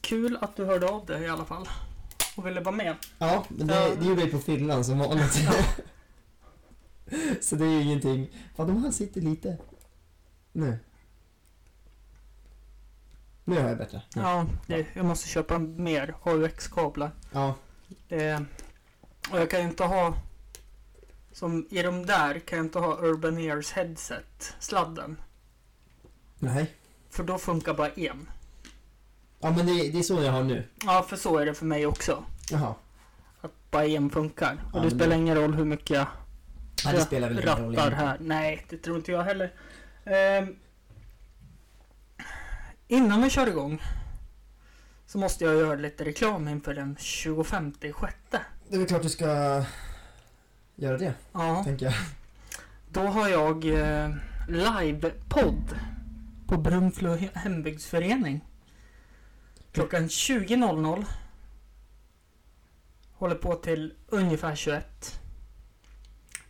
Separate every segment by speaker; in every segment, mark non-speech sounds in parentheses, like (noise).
Speaker 1: kul att du hörde av dig i alla fall. Och ville vara med.
Speaker 2: Ja, men det, det gjorde jag på fyllan som vanligt. (laughs) Så det är ju ingenting. Fan, om han sitter lite... Nu. Nu har jag bättre.
Speaker 1: Ja, det, jag måste köpa mer AUX-kablar.
Speaker 2: Ja.
Speaker 1: Det, Eh, och jag kan ju inte ha... Som i de där kan jag inte ha Urban Ears headset, sladden.
Speaker 2: Nej.
Speaker 1: För då funkar bara en.
Speaker 2: Ja, men det, det är så jag har nu.
Speaker 1: Ja, för så är det för mig också.
Speaker 2: Jaha.
Speaker 1: Att bara en funkar. Och
Speaker 2: Ja,
Speaker 1: det
Speaker 2: men
Speaker 1: spelar
Speaker 2: det-
Speaker 1: ingen roll hur mycket jag
Speaker 2: Ja, det spelar väl ingen roll.
Speaker 1: rattar här. Nej, det tror inte jag heller. Ehm, innan vi kör igång så måste jag göra lite reklam inför den 25 sjätte.
Speaker 2: Det är väl klart du ska göra det,
Speaker 1: Ja,
Speaker 2: tänker jag.
Speaker 1: då har jag eh, livepodd på Brunflo he- hembygdsförening. Klockan 20.00. Håller på till ungefär 21.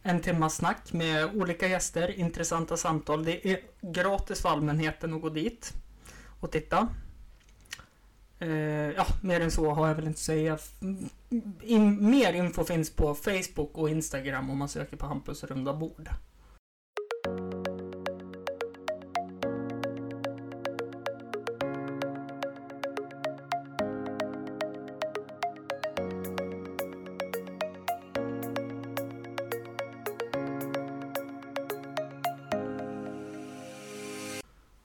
Speaker 1: En timma snack med olika gäster, intressanta samtal. Det är gratis för allmänheten att gå dit och titta. Eh, ja, mer än så har jag väl inte att säga. In, mer info finns på Facebook och Instagram om man söker på Hampus runda bord.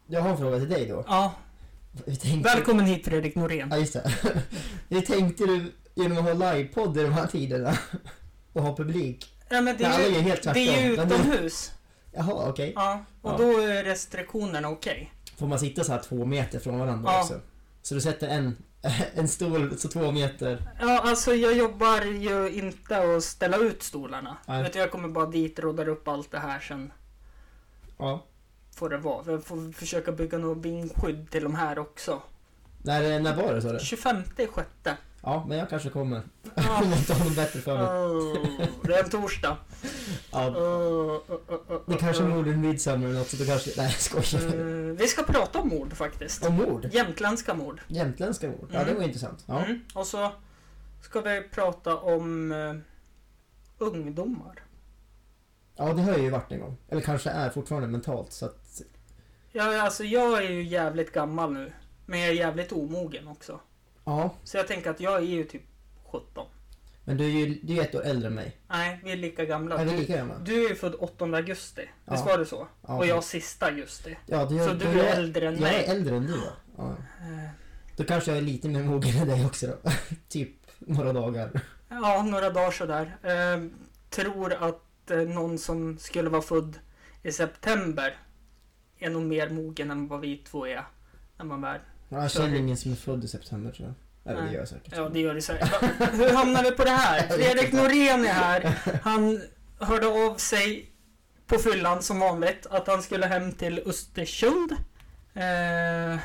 Speaker 2: Jag har en fråga till dig då.
Speaker 1: Ja,
Speaker 2: Hur tänkte du?
Speaker 1: välkommen hit Fredrik Norén.
Speaker 2: Ja, just det. (laughs) Hur tänkte du genom att ha livepodd i de här tiderna? Och ha publik?
Speaker 1: Ja, men det,
Speaker 2: Nej,
Speaker 1: är
Speaker 2: alla
Speaker 1: ju,
Speaker 2: är helt tvärtom.
Speaker 1: det är ju
Speaker 2: Men det-
Speaker 1: utomhus.
Speaker 2: Jaha, okej.
Speaker 1: Ja, och
Speaker 2: Ja.
Speaker 1: då är restriktionerna okej.
Speaker 2: Får man sitta så här två meter från varandra
Speaker 1: Ja.
Speaker 2: också? Så du sätter en, (laughs) en stol så två meter?
Speaker 1: Ja, alltså jag jobbar ju inte att ställa ut stolarna.
Speaker 2: Nej.
Speaker 1: Utan jag kommer bara dit, roddar upp allt det här, sen
Speaker 2: Ja.
Speaker 1: får det vara. Jag får försöka bygga något vindskydd till de här också.
Speaker 2: När, när var det sa du?
Speaker 1: 25
Speaker 2: (laughs)
Speaker 1: sjätte.
Speaker 2: Ja, men jag kanske kommer. (laughs)
Speaker 1: Ja.
Speaker 2: Om jag inte har något bättre för mig.
Speaker 1: Oh, det är en torsdag.
Speaker 2: Ja,
Speaker 1: Oh, oh, oh, oh,
Speaker 2: det kanske är
Speaker 1: oh.
Speaker 2: mord i midsommar eller något så då kanske... Nej, jag skojar.
Speaker 1: Eh, vi ska prata om mord faktiskt.
Speaker 2: Om mord?
Speaker 1: Jämtländska mord.
Speaker 2: Jämtländska mord? Ja, det
Speaker 1: Mm.
Speaker 2: var intressant. Ja.
Speaker 1: Mm. Och så ska vi prata om eh, ungdomar.
Speaker 2: ja, det har jag ju varit en gång. Eller kanske är fortfarande mentalt så att...
Speaker 1: Ja, alltså jag är ju jävligt gammal nu. Men jag är jävligt omogen också.
Speaker 2: Ja,
Speaker 1: Så jag tänker att jag är ju typ 17.
Speaker 2: men du är ju du är ett år äldre än mig.
Speaker 1: Nej, vi är lika gamla.
Speaker 2: Är vi
Speaker 1: Du,
Speaker 2: lika gamla?
Speaker 1: du är ju född 8 augusti. Visst
Speaker 2: Ja.
Speaker 1: var det så?
Speaker 2: Ja,
Speaker 1: Och jag sista augusti.
Speaker 2: ja, du,
Speaker 1: Så
Speaker 2: gör-
Speaker 1: du är äldre än
Speaker 2: jag
Speaker 1: mig.
Speaker 2: Jag är äldre än du då. Ja.
Speaker 1: Eh,
Speaker 2: Då kanske jag är lite mer mogen än dig också då. (laughs) typ några dagar.
Speaker 1: Ja, några dagar sådär. Eh, tror att eh, någon som skulle vara född i september är nog mer mogen än vad vi två är. När man väl...
Speaker 2: Ja, Jag känner ingen som är född i september tror jag. Eller det
Speaker 1: Nej.
Speaker 2: gör jag säkert.
Speaker 1: Ja, det gör det
Speaker 2: (laughs)
Speaker 1: säkert. Va- Hur hamnar vi på det här?
Speaker 2: Jag vet
Speaker 1: Fredrik
Speaker 2: inte. (laughs)
Speaker 1: Norén är här. Han hörde av sig på fyllan som vanligt att han skulle hem till Östersund. Eh,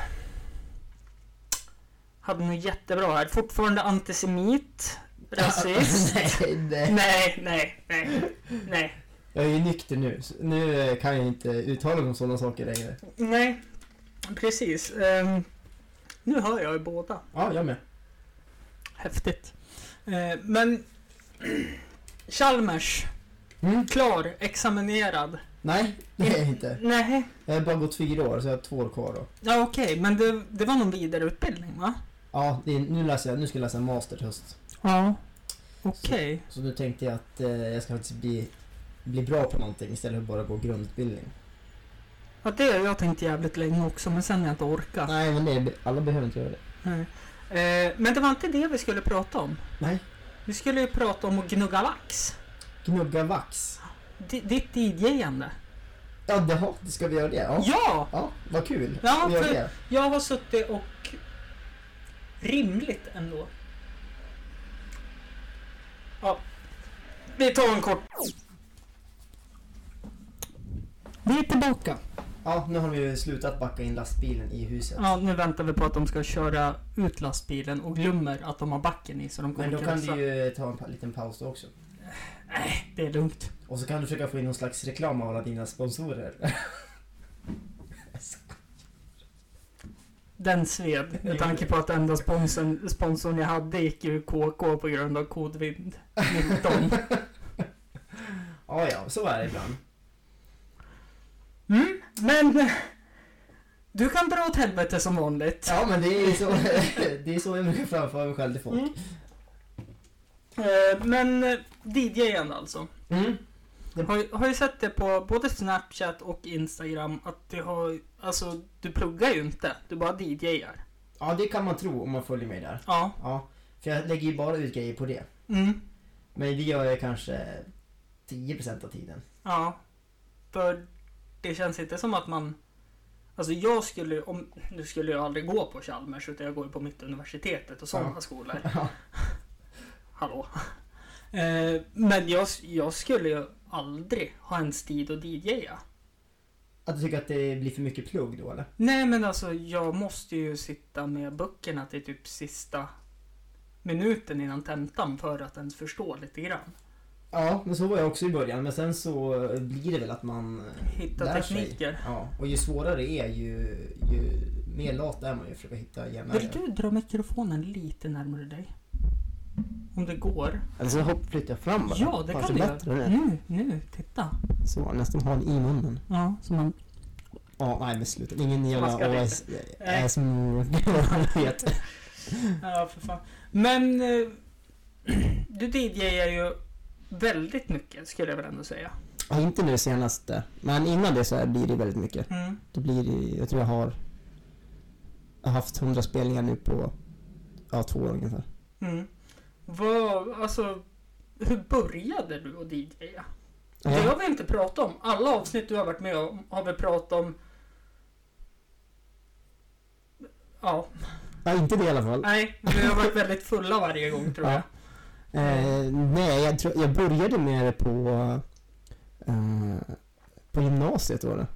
Speaker 1: hade nog jättebra här. Fortfarande
Speaker 2: (laughs)
Speaker 1: antisemit, rasist.
Speaker 2: nej, nej.
Speaker 1: nej, nej, nej, nej.
Speaker 2: Jag är ju nykter nu. så Nu eh, kan jag inte uttala mig om sådana saker längre.
Speaker 1: Nej, precis. Ehm, nu hör jag ju båda.
Speaker 2: Ja, jag med.
Speaker 1: Häftigt. Eh, men (clears throat) Chalmers,
Speaker 2: Mm.
Speaker 1: klar, examinerad.
Speaker 2: Nej, det är jag inte.
Speaker 1: Nej,
Speaker 2: Jag har bara gått fyra år så jag har två år kvar då.
Speaker 1: ja okej, men det, det var någon vidareutbildning va?
Speaker 2: Ja, det är, nu, läser jag, nu ska jag läsa en master till höst.
Speaker 1: Ja. Okej.
Speaker 2: Så nu tänkte jag att eh, jag ska faktiskt bli, bli bra på någonting istället för att bara gå grundutbildning.
Speaker 1: Ja, det har jag tänkt jävligt länge också, men sen har jag inte orkat.
Speaker 2: Nej, men det, alla behöver inte göra det.
Speaker 1: Nej. Eh, men det var inte det vi skulle prata om.
Speaker 2: Nej.
Speaker 1: Vi skulle ju prata om att gnugga lax.
Speaker 2: Gnugga vax.
Speaker 1: D- ditt idgivande.
Speaker 2: Ja, jaha, det ska vi göra det? Ja.
Speaker 1: ja!
Speaker 2: Ja, vad kul.
Speaker 1: Ja,
Speaker 2: vi gör
Speaker 1: för-
Speaker 2: det.
Speaker 1: Jag har suttit och rimligt ändå. Ja, vi tar en kort. Vi är tillbaka.
Speaker 2: Ja, nu har vi ju slutat backa in lastbilen i huset.
Speaker 1: Ja, nu väntar vi på att de ska köra ut lastbilen och glömmer att de har backen i så de kommer
Speaker 2: Men då kan
Speaker 1: krasa.
Speaker 2: du ju ta en pa- liten paus då också.
Speaker 1: Det är lugnt.
Speaker 2: Och så kan du försöka få in någon slags reklam av alla dina sponsorer.
Speaker 1: Den sved med tanke på att enda sponsorn, sponsorn jag hade gick ur KK på grund av kodvind 19.
Speaker 3: (laughs) Ja, ja, så är det ibland.
Speaker 1: Mm, men du kan dra åt helvete som vanligt.
Speaker 3: Ja, men det är så, (laughs) det är så jag brukar framföra mig själv till folk.
Speaker 1: Mm. Eh, Men eh, DJ'n alltså.
Speaker 3: Mm.
Speaker 1: Jag har, ju- har ju sett det på både Snapchat och Instagram att det har, alltså du pluggar ju inte, du bara DJar.
Speaker 3: Ja, det kan man tro om man följer mig där.
Speaker 1: Ja.
Speaker 3: Ja, för jag lägger ju bara ut grejer på det.
Speaker 1: Mm.
Speaker 3: Men det gör jag kanske 10% av tiden. (laughs)
Speaker 1: Ja. För det känns inte som att man, alltså jag skulle, om, nu skulle jag aldrig gå på Chalmers utan jag går ju på Mittuniversitetet och sådana
Speaker 3: Ja.
Speaker 1: skolor.
Speaker 3: Ja.
Speaker 1: Hallå. (laughs) Eh, men jag, jag skulle ju aldrig ha ens tid att DJa.
Speaker 3: Att du tycker att det blir för mycket plugg då eller?
Speaker 1: Nej men alltså jag måste ju sitta med böckerna till typ sista minuten innan tentan för att ens förstå lite grann.
Speaker 3: Ja, men så var jag också i början. Men sen så blir det väl att man eh,
Speaker 1: Hitta
Speaker 3: lär sig.
Speaker 1: tekniker.
Speaker 3: Ja, och ju svårare det är ju, ju mer lat är man ju för att hitta jämnare.
Speaker 1: Vill du dra mikrofonen lite närmare dig? Om det går.
Speaker 2: Eller så hopp, flyttar Alltså, jag fram bara.
Speaker 1: Ja, det
Speaker 2: Hörs
Speaker 1: kan du göra. Mm.
Speaker 2: bättre nu?
Speaker 1: Nu, nu, titta.
Speaker 2: Så, nästan har den i munnen.
Speaker 1: Ja, som man...
Speaker 3: Ja, nej men sluta. Ingen
Speaker 1: Man ska
Speaker 3: jävla
Speaker 1: leta.
Speaker 3: AS...
Speaker 1: Nej.
Speaker 2: ASMR. vet.
Speaker 1: Ja, för fan. Men eh, (clears throat) du DJar ju väldigt mycket skulle jag väl ändå säga.
Speaker 2: Ja, inte nu senaste. Men innan det så här blir det väldigt mycket.
Speaker 1: Mm.
Speaker 2: Då blir det, jag tror jag har jag har haft 100 spelningar nu på ja, två år ungefär.
Speaker 1: Mm. Vad, alltså, hur började du att DJa? Det
Speaker 2: Ja.
Speaker 1: har vi inte pratat om. Alla avsnitt du har varit med om har vi pratat om. Ja,
Speaker 2: ja, inte det i alla fall.
Speaker 1: nej, vi har varit väldigt fulla varje gång tror jag.
Speaker 2: Eh, nej, jag, tror, jag började med det på, eh, på gymnasiet var det.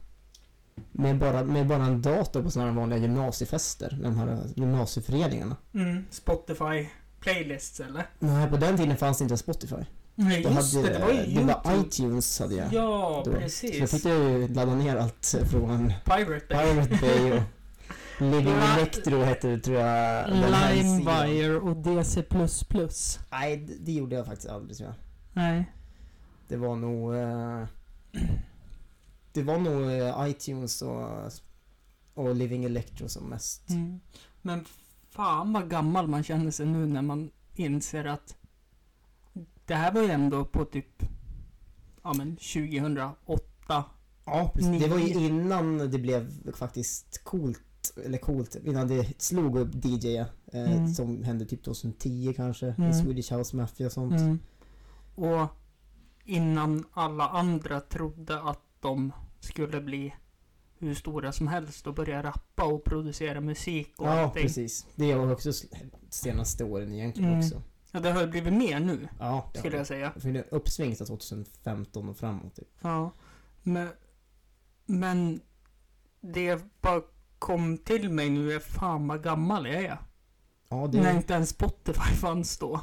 Speaker 2: Med bara, med bara en dator på sådana här vanliga gymnasiefester, de här gymnasieföreningarna.
Speaker 1: Mm, Spotify playlists eller?
Speaker 2: Nej, på den tiden fanns det inte Spotify.
Speaker 1: Nej,
Speaker 2: Jag
Speaker 1: just det,
Speaker 2: hade,
Speaker 1: det var ju
Speaker 2: det var
Speaker 1: YouTube.
Speaker 2: iTunes hade jag.
Speaker 1: Ja,
Speaker 2: då. Så jag
Speaker 1: precis.
Speaker 2: fick ju ladda ner allt från
Speaker 1: Pirate Bay.
Speaker 2: Pirate Bay och
Speaker 1: (laughs)
Speaker 2: Living
Speaker 1: La-
Speaker 2: Electro hette det tror jag. den här sidan.
Speaker 1: LimeWire och DC++.
Speaker 2: Nej, d- det gjorde jag faktiskt aldrig tror jag.
Speaker 1: Nej.
Speaker 2: Det var nog... eh, det var nog eh, iTunes och, och Living Electro som mest.
Speaker 1: Mm. Men fan vad gammal man känner sig nu när man inser att det här var ju ändå på typ ja, men 2008.
Speaker 2: Ja, precis. Det var ju
Speaker 1: Nio.
Speaker 2: innan det blev faktiskt coolt, eller coolt, innan det slog upp DJ eh,
Speaker 1: Mm.
Speaker 2: som hände typ 2010 kanske,
Speaker 1: Mm.
Speaker 2: Swedish House Mafia och sånt.
Speaker 1: Och innan alla andra trodde att de skulle bli hur stora som helst och börja rappa och producera musik och
Speaker 2: Ja,
Speaker 1: allting.
Speaker 2: precis. Det var också s- senaste åren egentligen
Speaker 1: Mm.
Speaker 2: också.
Speaker 1: Ja, det har ju blivit mer nu
Speaker 2: Ja, det
Speaker 1: skulle jag säga.
Speaker 2: För det är uppsving sedan 2015 och framåt. Typ.
Speaker 1: Ja, men, men det bara kom till mig nu, är fan vad gammal jag är.
Speaker 2: Ja,
Speaker 1: När
Speaker 2: det,
Speaker 1: inte ens Spotify fanns då.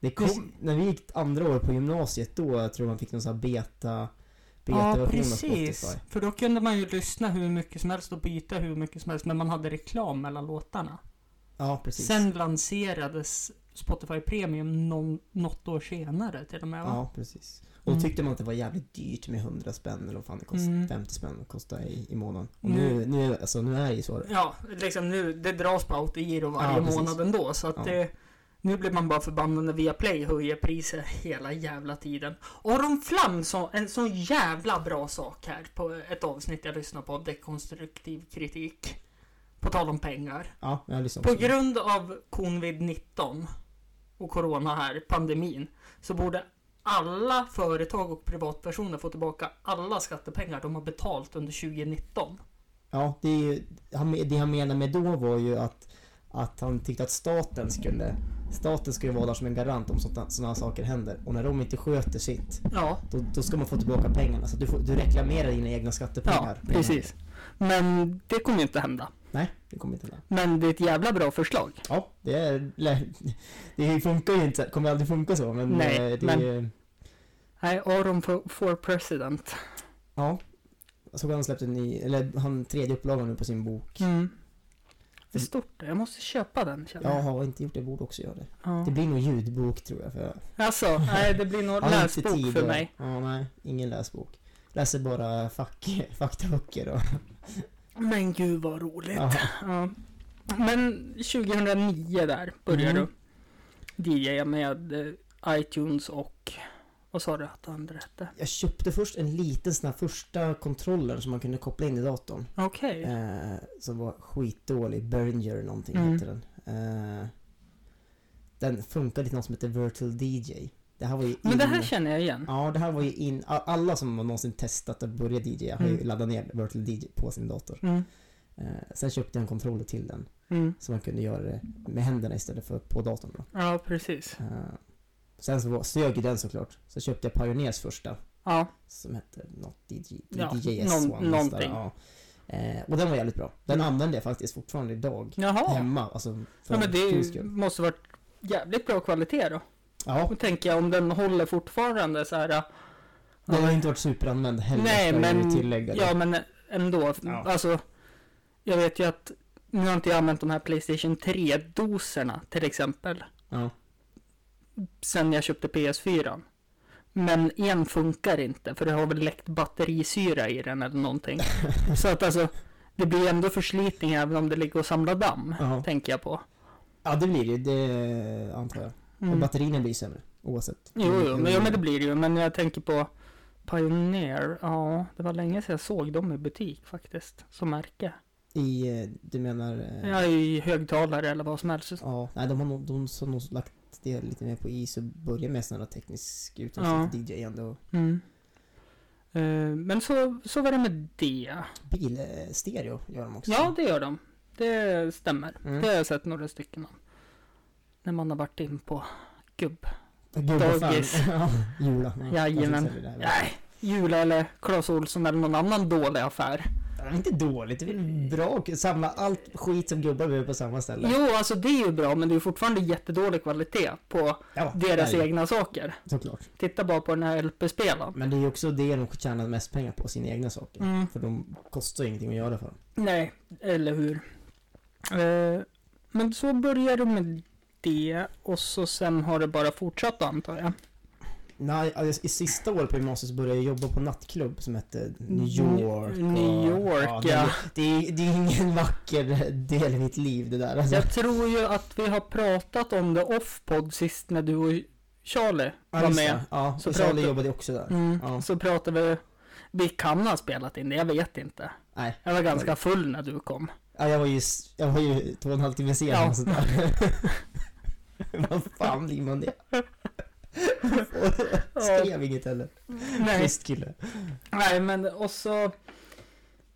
Speaker 2: det kom, när vi gick andra året på gymnasiet då jag tror jag man fick någon sån här beta, beta
Speaker 1: Ja,
Speaker 2: version av
Speaker 1: precis.
Speaker 2: Spotify.
Speaker 1: För då kunde man ju lyssna hur mycket som helst och byta hur mycket som helst, men man hade reklam mellan låtarna.
Speaker 2: Ja, precis.
Speaker 1: Sen lanserades Spotify Premium någon, något år senare till och med va?
Speaker 2: ja, precis. Och då
Speaker 1: Mm.
Speaker 2: tyckte man att det var jävligt dyrt med 100 spänn eller vad fan det kostade.
Speaker 1: Mm.
Speaker 2: 50 spänn kostade i, i månaden. Och
Speaker 1: Nu-
Speaker 2: nu, nu, alltså, nu är det ju så.
Speaker 1: Ja, liksom nu, det dras på autogiro varje
Speaker 2: Ja, precis.
Speaker 1: månad ändå. Så att
Speaker 2: Ja.
Speaker 1: det, nu blir man bara förbannad när Viaplay höjer priser hela jävla tiden. Aron Flam sa en så jävla bra sak här på ett avsnitt jag lyssnade på av dekonstruktiv kritik. På tal om pengar.
Speaker 2: Ja, jag lyssnar
Speaker 1: På
Speaker 2: också.
Speaker 1: grund av covid-19 och corona här, pandemin, så borde alla företag och privatpersoner få tillbaka alla skattepengar de har betalt under 2019.
Speaker 2: Ja, det, är ju, han, det han menade med då var ju att, att han tyckte att staten skulle Staten skulle vara där som en garant om sådana saker händer. Och när de inte sköter sitt,
Speaker 1: Ja,
Speaker 2: då, då ska man få tillbaka pengarna. Så du, får, du reklamerar dina egna skattepengar.
Speaker 1: Ja, precis. Men det kommer ju inte hända.
Speaker 2: Nej, det kommer inte hända.
Speaker 1: Men det är ett jävla bra förslag.
Speaker 2: Ja, det, är, det funkar ju inte. kommer aldrig funka så, men...
Speaker 1: Nej,
Speaker 2: eh, det,
Speaker 1: men- Nej, Aron for, for president. Mm.
Speaker 2: Ja. Jag såg att han släppte en ny, eller han tredje upplagan nu på sin bok.
Speaker 1: För stort. Jag måste köpa den känner
Speaker 2: Jag
Speaker 1: jag.
Speaker 2: har inte gjort det, jag borde också göra det.
Speaker 1: Ja.
Speaker 2: Det blir nog ljudbok tror jag. För jag
Speaker 1: Alltså, nej det blir nog
Speaker 2: jag har inte
Speaker 1: läsbok
Speaker 2: tid
Speaker 1: för
Speaker 2: att-
Speaker 1: mig.
Speaker 2: Ja, nej, ingen läsbok. Läser bara fack, (laughs) faktaböcker och...
Speaker 1: Men gud vad roligt.
Speaker 2: Ja.
Speaker 1: Ja. Men 2009 där började
Speaker 2: Mm.
Speaker 1: du DJa med eh, iTunes och vad sa du att det andra hette?
Speaker 2: Jag köpte först en liten sån här första kontroller som man kunde koppla in i datorn.
Speaker 1: Okej.
Speaker 2: Eh, som var skitdålig. Behringer någonting
Speaker 1: Mm.
Speaker 2: hette den. Eh, den funkade till något som heter Virtual DJ. Det här var ju
Speaker 1: Men det här
Speaker 2: in-
Speaker 1: känner jag igen.
Speaker 2: Ja, det här var ju in... a- Alla som har någonsin testat att börja DJa har ju
Speaker 1: Mm.
Speaker 2: laddat ner Virtual DJ på sin dator.
Speaker 1: Mm.
Speaker 2: Eh, sen köpte jag en kontroller till den.
Speaker 1: Mm.
Speaker 2: Så man kunde göra det med händerna istället för på datorn. Då.
Speaker 1: Ja, precis.
Speaker 2: Eh, sen så var- sög ju den såklart. Så köpte jag Pioneers första.
Speaker 1: Ja.
Speaker 2: Som hette något DJ,
Speaker 1: Ja,
Speaker 2: DJ
Speaker 1: någon-
Speaker 2: S1. nästan,
Speaker 1: någonting.
Speaker 2: Ja. Eh, och den var jävligt bra. Den
Speaker 1: Mm.
Speaker 2: använder jag faktiskt fortfarande idag.
Speaker 1: Jaha.
Speaker 2: Hemma. Alltså, för
Speaker 1: Ja, men det är
Speaker 2: kul
Speaker 1: ju,
Speaker 2: skull.
Speaker 1: måste varit jävligt bra kvalitet då.
Speaker 2: Ja,
Speaker 1: Då tänker jag om den håller fortfarande så här. ja,
Speaker 2: den har ju inte varit superanvänd heller.
Speaker 1: Nej,
Speaker 2: ska jag ju
Speaker 1: men-
Speaker 2: Tillägga det.
Speaker 1: Ja, men ändå.
Speaker 2: Ja.
Speaker 1: Alltså, jag vet ju att nu har inte jag använt de här Playstation 3-doserna till exempel.
Speaker 2: Ja.
Speaker 1: Sen jag köpte PS4. Men en funkar inte för det har väl läckt batterisyra i den eller
Speaker 2: (laughs)
Speaker 1: någonting. så att alltså, det blir ändå förslitning även om det ligger och samlar damm.
Speaker 2: Ja.
Speaker 1: Tänker jag på.
Speaker 2: ja, det blir det ju. Det antar jag. Och
Speaker 1: Mm.
Speaker 2: batterierna blir sämre. Oavsett.
Speaker 1: Jo, jo,
Speaker 2: mm.
Speaker 1: men, ja, men det blir det ju. Men jag tänker på Pioneer. Ja, det var länge sedan jag såg dem i butik faktiskt. Som märke.
Speaker 2: I, eh, du menar... eh,
Speaker 1: Ja, i högtalare eller vad som helst.
Speaker 2: Ja, nej, de har nog, de har nog lagt det lite mer på is och börjat med sån här teknisk
Speaker 1: Ja.
Speaker 2: utrustning till DJ-ande och
Speaker 1: Mm. Eh, Men så, så var det med det.
Speaker 2: bilstereo gör de också.
Speaker 1: Ja, det gör de. Det stämmer.
Speaker 2: Mm.
Speaker 1: Det har jag sett några stycken av. När man har varit in på gubb.
Speaker 2: Gud, vad fan.
Speaker 1: Dagis.
Speaker 2: (laughs) ja, Jula. Ja,
Speaker 1: Jajamän.
Speaker 2: jag tyckte det där var-
Speaker 1: Nej, Jula eller Clas Ohlson eller någon annan dålig affär.
Speaker 2: Det är inte dåligt, det är väl bra att samla allt skit som gubbar behöver på samma ställe.
Speaker 1: Jo, alltså det är ju bra, men det är fortfarande jättedålig kvalitet på
Speaker 2: Ja,
Speaker 1: deras
Speaker 2: nej,
Speaker 1: egna saker.
Speaker 2: Såklart.
Speaker 1: Titta bara på den här LP-spelaren.
Speaker 2: Men det är ju också det de tjänar mest pengar på, sina egna saker.
Speaker 1: Mm.
Speaker 2: För de kostar ju ingenting att göra för dem.
Speaker 1: Nej, eller hur. Eh, men så började du med det och så sen har det bara fortsatt antar jag.
Speaker 2: Nej, alltså, i sista året på gymnasiet så började jag jobba på nattklubb som hette New York. och-
Speaker 1: New York, ja.
Speaker 2: Det, det, är, det är ingen (laughs) vacker del i mitt liv det där. Alltså.
Speaker 1: Jag tror ju att vi har pratat om det off-podd sist när du och Charlie
Speaker 2: Ja,
Speaker 1: var
Speaker 2: just
Speaker 1: med.
Speaker 2: det. Ja,
Speaker 1: Så
Speaker 2: så Charlie
Speaker 1: pratar-
Speaker 2: jobbade också där.
Speaker 1: Mm.
Speaker 2: Ja.
Speaker 1: Så pratade vi, vi kan ha spelat in det, jag vet inte.
Speaker 2: Nej,
Speaker 1: Jag var ganska full när du kom.
Speaker 2: ja, jag var ju, s- jag var ju två och en halv timme sen
Speaker 1: Ja.
Speaker 2: och sådär. (laughs) Vad fan blir
Speaker 1: (laughs)
Speaker 2: man det? Skrev inget heller.
Speaker 1: Nej,
Speaker 2: Schysst kille.
Speaker 1: nej men och så,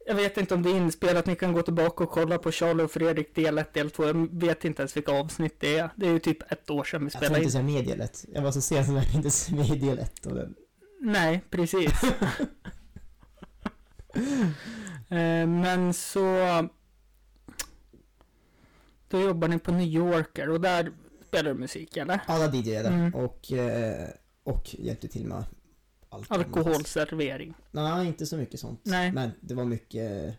Speaker 1: jag vet inte om det är inspelat, ni kan gå tillbaka och kolla på Charlie och Fredrik del 1, del 2, jag vet inte ens vilka avsnitt det är. Det är ju typ ett år sedan vi
Speaker 2: Jag tror
Speaker 1: spelade
Speaker 2: inte
Speaker 1: in.
Speaker 2: så jag med i del ett. Jag var så sen som jag (laughs) inte så med i del ett av den.
Speaker 1: Nej,
Speaker 2: (laughs)
Speaker 1: precis. Eh, Men så... Då jobbar ni på New Yorker och där spelar du musik eller?
Speaker 2: Alla DJade
Speaker 1: Mm.
Speaker 2: och, eh, och hjälpte till med allt. annat.
Speaker 1: Alkoholservering.
Speaker 2: Nej, inte så mycket sånt.
Speaker 1: Nej.
Speaker 2: Men det var mycket,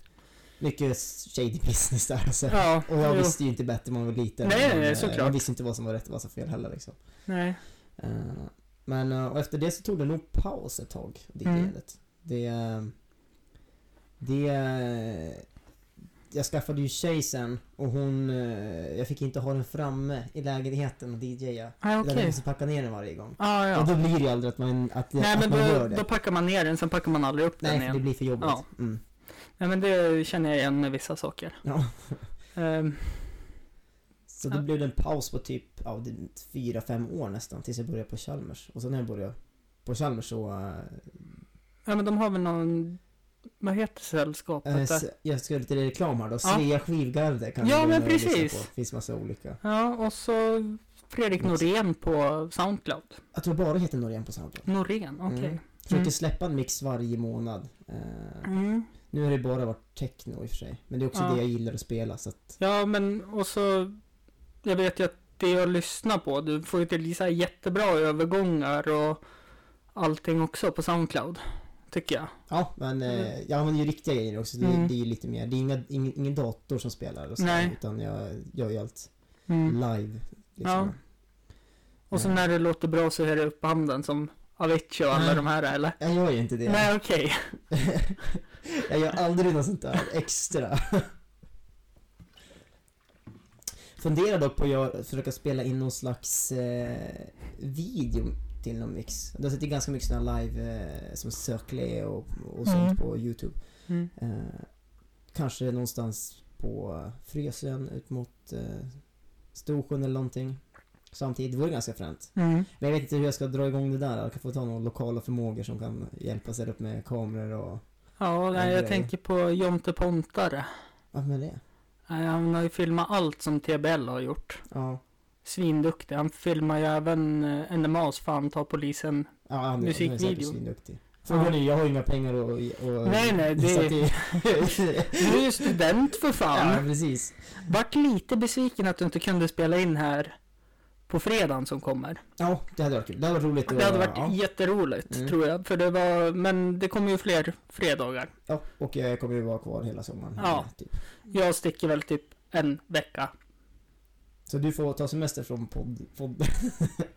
Speaker 2: mycket shady business där alltså.
Speaker 1: Ja,
Speaker 2: Och jag
Speaker 1: jo,
Speaker 2: visste ju inte bättre när man var liten.
Speaker 1: Nej,
Speaker 2: Men,
Speaker 1: nej,
Speaker 2: eh,
Speaker 1: såklart.
Speaker 2: Jag visste inte vad som var rätt och vad som var fel heller liksom.
Speaker 1: nej.
Speaker 2: Eh, Men eh, och efter det så tog det nog paus ett tag, det
Speaker 1: Mm.
Speaker 2: DJet. Det... eh, Det... eh, Jag skaffade ju tjej sen och hon... eh, Jag fick inte ha den framme i lägenheten och DJa.
Speaker 1: Ah,
Speaker 2: Okay. Jag
Speaker 1: okej.
Speaker 2: måste packa ner den varje gång.
Speaker 1: Ah,
Speaker 2: Och
Speaker 1: ja.
Speaker 2: då blir det ju aldrig att man, att,
Speaker 1: Nej
Speaker 2: att
Speaker 1: men
Speaker 2: man gör
Speaker 1: då,
Speaker 2: det.
Speaker 1: då packar man ner den, sen packar man aldrig upp
Speaker 2: Nej,
Speaker 1: den
Speaker 2: för det
Speaker 1: igen.
Speaker 2: blir för jobbigt.
Speaker 1: Ja.
Speaker 2: Mm.
Speaker 1: Nej men det känner jag igen med vissa saker.
Speaker 2: Ja.
Speaker 1: (laughs) Ehm,
Speaker 2: Så då
Speaker 1: Ja.
Speaker 2: blev det en paus på typ ja, det- fyra, fem år nästan tills jag började på Chalmers. Och sen när jag började på Chalmers så... eh,
Speaker 1: Ja men de har väl någon... Vad heter
Speaker 2: Äh,
Speaker 1: sällskapet där?
Speaker 2: s- jag ska göra lite reklam här då.
Speaker 1: Ja.
Speaker 2: Svea skivgarde kan
Speaker 1: Ja,
Speaker 2: gå in
Speaker 1: men
Speaker 2: och lyssna
Speaker 1: precis.
Speaker 2: På. finns massa olika.
Speaker 1: Ja, och så Fredrik Norén på Soundcloud.
Speaker 2: Jag tror bara heter Norén på Soundcloud.
Speaker 1: Norén, okej.
Speaker 2: Mm. Försöker
Speaker 1: Mm.
Speaker 2: släppa en mix varje månad. Eh,
Speaker 1: Mm.
Speaker 2: nu har det bara varit techno i och för sig. Men det är också
Speaker 1: Ja.
Speaker 2: det jag gillar att spela så att...
Speaker 1: Ja, men och så... Jag vet ju att det jag lyssnar på, du får ju till så här jättebra övergångar och allting också på Soundcloud. tycker jag.
Speaker 2: Ja, men eh, jag använder ju riktiga grejer också. Det,
Speaker 1: Mm.
Speaker 2: det är ju lite mer. Det är inga, ingen, ingen dator som spelar och så,
Speaker 1: Nej.
Speaker 2: Utan jag gör ju allt
Speaker 1: Mm.
Speaker 2: live.
Speaker 1: Ja.
Speaker 2: Liksom.
Speaker 1: Och så
Speaker 2: Eh,
Speaker 1: när det låter bra så är det upp handen som Avicii och alla
Speaker 2: Nej.
Speaker 1: de här eller?
Speaker 2: Jag gör ju inte Mm. det.
Speaker 1: Nej okej.
Speaker 2: (laughs) jag gör aldrig något sånt där extra. Funderar dock på att göra- försöka spela in någon slags eh, video till någon mix. Du har sett det ganska mycket sådana live eh, som Circle och, och sånt
Speaker 1: Mm.
Speaker 2: på Youtube.
Speaker 1: Mm.
Speaker 2: Eh, kanske någonstans på Frösön ut mot eh, Storsjön eller någonting. Samtidigt, det vore ganska fränt.
Speaker 1: Mm.
Speaker 2: Men jag vet inte hur jag ska dra igång det där. Jag kan få ta några lokala förmågor som kan hjälpa sig upp med kameror och...
Speaker 1: Ja, nej,
Speaker 2: det är
Speaker 1: jag
Speaker 2: det.
Speaker 1: tänker på Jonte Pontare.
Speaker 2: Vad med det?
Speaker 1: Nej, Han har ju filmat allt som TBL har gjort.
Speaker 2: Ja.
Speaker 1: Svinduktig. Han filmar ju även eh, NMAs Fan ta polisen.
Speaker 2: ja han, Han är säkert
Speaker 1: Musikvideo.
Speaker 2: svinduktig. Frågan är ju, jag har ju inga pengar och... och
Speaker 1: Nej, nej, det-
Speaker 2: så att
Speaker 1: (laughs) Du är ju student för
Speaker 2: ja,
Speaker 1: fan.
Speaker 2: precis.
Speaker 1: Vart lite besviken att du inte kunde spela in här på fredagen som kommer.
Speaker 2: Ja, det hade varit kul. Det hade varit roligt. att-
Speaker 1: Det hade varit
Speaker 2: Ja,
Speaker 1: jätteroligt
Speaker 2: Mm.
Speaker 1: tror jag. För det var, men det kommer ju fler fredagar.
Speaker 2: ja, och jag kommer ju vara kvar hela sommaren.
Speaker 1: Ja.
Speaker 2: Typ.
Speaker 1: Jag sticker väl typ en vecka.
Speaker 2: Så du får ta semester från podd... podd. (laughs)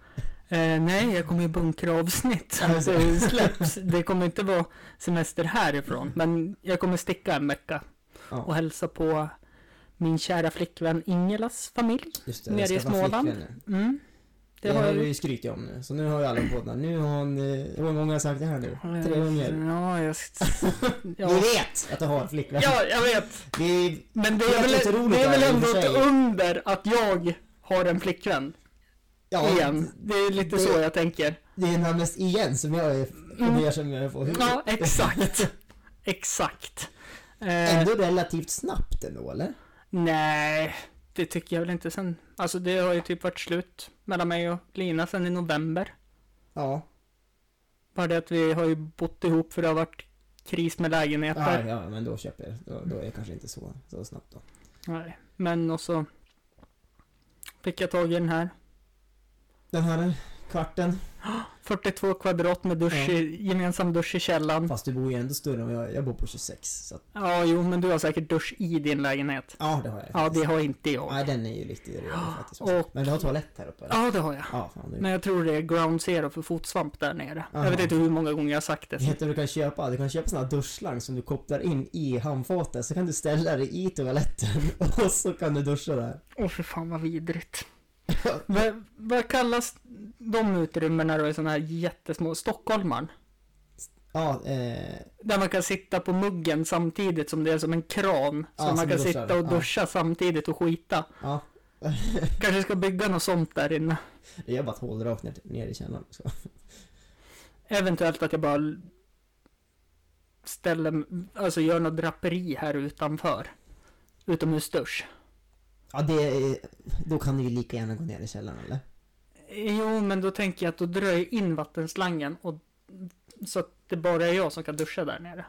Speaker 1: Eh, nej, jag kommer ju bunkra avsnitt.
Speaker 2: Ja, just
Speaker 1: Alltså,
Speaker 2: det.
Speaker 1: det (laughs) släpps. Det kommer inte vara semester härifrån. Men jag kommer sticka en vecka och
Speaker 2: Ja,
Speaker 1: hälsa på min kära flickvän Ingelas familj.
Speaker 2: just det.
Speaker 1: nere
Speaker 2: Jag
Speaker 1: i
Speaker 2: skaffade
Speaker 1: Småland.
Speaker 2: flickvän nu.
Speaker 1: Mm.
Speaker 2: Det har vi ju skrytit om nu. Så nu har ju alla på den. Nu har hon... eh, Hur många gånger har jag sagt det här nu? Tre gånger.
Speaker 1: Ja, jag...
Speaker 2: (laughs) Ni
Speaker 1: Ja.
Speaker 2: vet att jag har flickvän.
Speaker 1: ja, jag vet.
Speaker 2: Det
Speaker 1: Men det
Speaker 2: Det
Speaker 1: är
Speaker 2: är
Speaker 1: väl,
Speaker 2: jätteroligt
Speaker 1: det är väl
Speaker 2: där, i och
Speaker 1: ändå
Speaker 2: för
Speaker 1: ett
Speaker 2: sig.
Speaker 1: under att jag har en flickvän
Speaker 2: Ja,
Speaker 1: igen. Det är lite
Speaker 2: det-
Speaker 1: så jag tänker.
Speaker 2: Det är namnet igen som jag är,
Speaker 1: Mm.
Speaker 2: mm. jag som jag får huvudet.
Speaker 1: Ja, exakt. exakt. Eh,
Speaker 2: (laughs) Ändå relativt snabbt ändå eller?
Speaker 1: Nej, det tycker jag väl inte sen. Alltså det har ju typ varit slut mellan mig och Lina sen i november.
Speaker 2: Ja.
Speaker 1: Bara det att vi har ju bott ihop för det har varit kris med
Speaker 2: Ja,
Speaker 1: lägenheter.
Speaker 2: ja, men då köper jag. Då, då är jag kanske inte så, så snabbt då.
Speaker 1: Nej. Men och så fick jag tag i den här.
Speaker 2: Den här kvarten.
Speaker 1: 42 kvadrat med dusch
Speaker 2: Ja.
Speaker 1: i, gemensam dusch i källaren.
Speaker 2: Fast du bor ju ändå större än vad jag, jag bor på 26. Så att,
Speaker 1: Ja, jo, men du har säkert dusch i din lägenhet.
Speaker 2: ja, det har jag
Speaker 1: Ja, det
Speaker 2: faktiskt.
Speaker 1: har inte jag.
Speaker 2: Nej, den är ju lite rörig faktiskt.
Speaker 1: Och-
Speaker 2: Men du har toalett här uppe eller?
Speaker 1: Ja, det har jag.
Speaker 2: Ja, fan, du,
Speaker 1: Men jag tror det är ground zero för fotsvamp där nere. Jag
Speaker 2: Aha.
Speaker 1: vet inte hur många gånger jag har sagt det.
Speaker 2: Vet du vad du kan köpa? Du kan köpa såna här duschslang som du kopplar in i handfatet, så kan du ställa dig i toaletten (laughs) och så kan du duscha där. (laughs)
Speaker 1: Åh för fan vad vidrigt. vad, vad kallas de utrymmena då i sådana här jättesmå, stockholmaren?
Speaker 2: Ja, eh,
Speaker 1: Där man kan sitta på muggen samtidigt som det är som en kran.
Speaker 2: Ja,
Speaker 1: så man
Speaker 2: som
Speaker 1: kan
Speaker 2: duschar.
Speaker 1: sitta och
Speaker 2: Ja.
Speaker 1: duscha samtidigt och skita.
Speaker 2: ja.
Speaker 1: Kanske ska bygga något sånt där inne.
Speaker 2: Jag gör bara ett hål rakt ner, ner i källaren. Så.
Speaker 1: Eventuellt att jag bara l- ställer, alltså gör något draperi här utanför. Utomhusdusch.
Speaker 2: Ja, det är, då kan du ju lika gärna gå ner i källaren eller?
Speaker 1: Jo, men då tänker jag att då drar jag in vattenslangen och så att det bara är jag som kan duscha där
Speaker 2: (laughs)
Speaker 1: nere.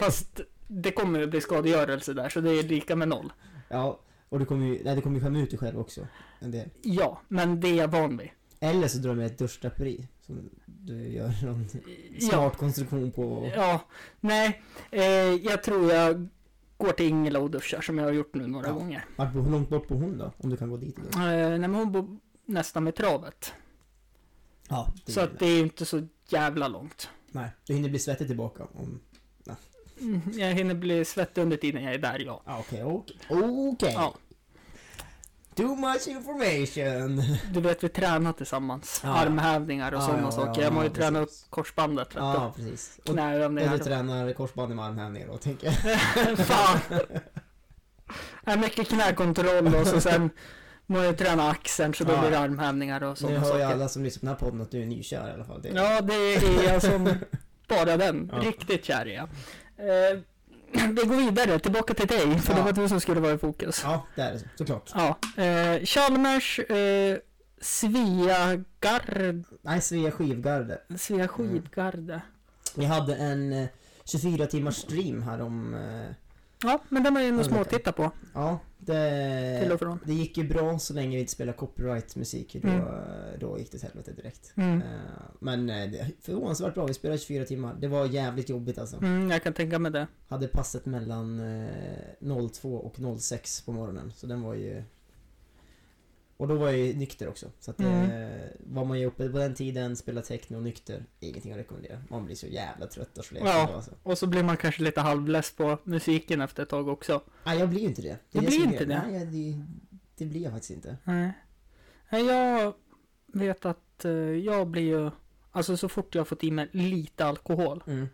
Speaker 1: Fast det kommer ju bli skadegörelse där, så det är lika med noll.
Speaker 2: Ja, och du kommer ju, nej, du kommer ju skämma ut dig själv också. En del.
Speaker 1: Ja, men det är jag van vid.
Speaker 2: Eller så drar du med ett duschdraperi som du gör någon
Speaker 1: Ja,
Speaker 2: smart konstruktion på.
Speaker 1: ja nej, eh, jag tror jag går till Ingela och duschar som jag har gjort nu några
Speaker 2: Ja.
Speaker 1: gånger.
Speaker 2: Vart bor- Hur långt bort bor hon då? Om du kan gå dit och
Speaker 1: Eh, nej, men hon bor nästan med travet,
Speaker 2: Ja, det
Speaker 1: så att det är ju inte så jävla långt.
Speaker 2: Nej, du hinner bli svettig tillbaka om...
Speaker 1: Mm, Jag hinner bli svettig under tiden jag är där, ja.
Speaker 2: Ja, okej, okej. Okej!
Speaker 1: ja.
Speaker 2: Too much information!
Speaker 1: Du vet, vi tränar tillsammans.
Speaker 2: Ja.
Speaker 1: Armhävningar och
Speaker 2: Ja,
Speaker 1: sådana
Speaker 2: ja,
Speaker 1: saker.
Speaker 2: ja,
Speaker 1: jag
Speaker 2: ja,
Speaker 1: må ju
Speaker 2: precis.
Speaker 1: träna upp korsbandet, vet
Speaker 2: Ja, precis.
Speaker 1: du.
Speaker 2: Och,
Speaker 1: Knäövningar.
Speaker 2: eller tränar korsband i med armhävningar då, tänker jag.
Speaker 1: (laughs) Fan!
Speaker 2: (laughs)
Speaker 1: Ja, mycket knäkontroll och så sen må jag träna axeln så då
Speaker 2: Ja.
Speaker 1: blir det armhävningar och
Speaker 2: Nu
Speaker 1: sådana
Speaker 2: hör ju
Speaker 1: saker.
Speaker 2: alla som lyssnar på den här podden att du är nykär i alla fall. Det,
Speaker 1: Ja, det är
Speaker 2: (laughs)
Speaker 1: jag som bara den.
Speaker 2: Ja.
Speaker 1: Riktigt kär är jag. Eh, vi går vidare, tillbaka till dig. För det
Speaker 2: Ja.
Speaker 1: var du som skulle vara i fokus.
Speaker 2: ja det är det så- såklart.
Speaker 1: Ja. Eh, Chalmers eh, Sveagard...
Speaker 2: Nej, Svea Skivgarde.
Speaker 1: Svea Skidgarde.
Speaker 2: Vi hade en eh, 24 timmars stream här om eh,
Speaker 1: Ja, men den var ju ändå
Speaker 2: Ja, det kan- eh.
Speaker 1: småtitta på
Speaker 2: Ja,
Speaker 1: till och
Speaker 2: det,
Speaker 1: från.
Speaker 2: det gick ju bra så länge vi inte spelade copyright-musik. Då, då gick det åt helvete direkt.
Speaker 1: Mm.
Speaker 2: Eh, Men eh, det- förvånansvärt bra, vi spelade 24 timmar. Det var jävligt jobbigt alltså.
Speaker 1: Mm, jag kan tänka mig det.
Speaker 2: Hade passet mellan eh, 02 och 06 på morgonen, så den var ju... Och då var jag ju nykter också, så att
Speaker 1: Mm.
Speaker 2: eh, var man ju uppe på den tiden, spelade techno och nykter, ingenting att rekommendera. Man blir så jävla trött och sleten
Speaker 1: Ja.
Speaker 2: då alltså.
Speaker 1: Och så blir man kanske lite halvless på musiken efter ett tag också.
Speaker 2: Nej, jag blir ju inte det.
Speaker 1: Du
Speaker 2: är
Speaker 1: blir
Speaker 2: som är
Speaker 1: inte det?
Speaker 2: Nej, jag, det, det blir jag faktiskt inte.
Speaker 1: Nej. Nej, Jag vet att eh, jag blir ju... Alltså så fort jag har fått i mig lite alkohol.
Speaker 2: Mm.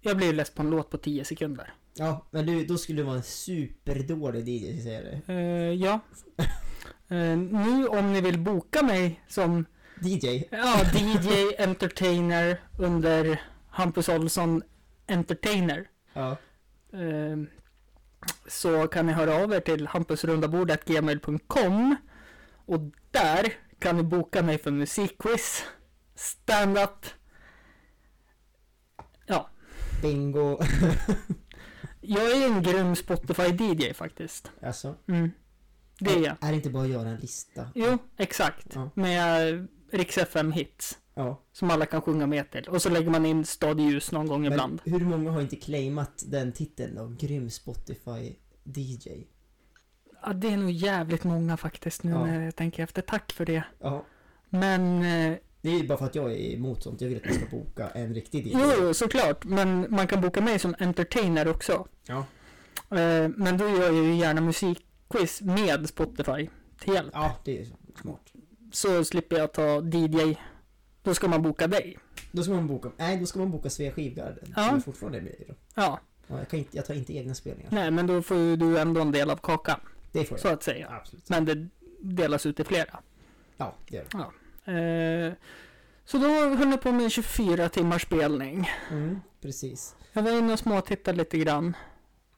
Speaker 1: Jag blir ju less på en låt på 10 sekunder.
Speaker 2: Ja, men du, då skulle du vara en superdålig DJ, ska jag säga det.
Speaker 1: Eh, ja. (laughs) Eh, nu om ni vill boka mig som
Speaker 2: DJ?
Speaker 1: (laughs) ja, DJ Entertainer under Hampus Olsson Entertainer.
Speaker 2: Ja.
Speaker 1: Eh, så kan ni höra av er till hampusrundabordet.gmail.com och där kan ni boka mig för musikquiz, stand-up.
Speaker 2: Bingo.
Speaker 1: Jag är en grym Spotify-DJ faktiskt.
Speaker 2: alltså.
Speaker 1: Mm. Det är jag.
Speaker 2: Är det inte bara att göra en lista?
Speaker 1: Jo, exakt.
Speaker 2: Ja.
Speaker 1: Med Rix FM hits
Speaker 2: Ja.
Speaker 1: som alla kan sjunga med till. Och så lägger man in Stad i ljus någon gång ibland.
Speaker 2: Men hur många har inte claimat den titeln då? Grym Spotify DJ.
Speaker 1: Ja, det är nog jävligt många faktiskt nu
Speaker 2: Ja.
Speaker 1: när jag tänker efter. Tack för det.
Speaker 2: Ja.
Speaker 1: Men eh,
Speaker 2: Det är ju bara för att jag är emot sånt. Jag vill att man ska boka en riktig DJ.
Speaker 1: Jo, jo, såklart. Men man kan boka mig som entertainer också.
Speaker 2: Ja.
Speaker 1: Eh, Men då gör jag ju gärna musikquiz med Spotify till hjälp.
Speaker 2: Ja, det är ju smart.
Speaker 1: Så slipper jag ta DJ. Då ska man boka dig.
Speaker 2: Då ska man boka, nej då ska man boka Svea Skivgarden.
Speaker 1: Ja.
Speaker 2: Som jag fortfarande är med i då.
Speaker 1: Ja,
Speaker 2: Ja, jag, kan inte, jag tar inte egna spelningar.
Speaker 1: nej men då får ju du ändå en del av kakan,
Speaker 2: Det får jag.
Speaker 1: så att säga.
Speaker 2: Absolut.
Speaker 1: Men det delas ut till flera.
Speaker 2: Ja, det gör
Speaker 1: Eh, Så då höll jag på med en 24 timmars spelning.
Speaker 2: det. Mm, precis.
Speaker 1: Jag var inne och småtittade lite grann.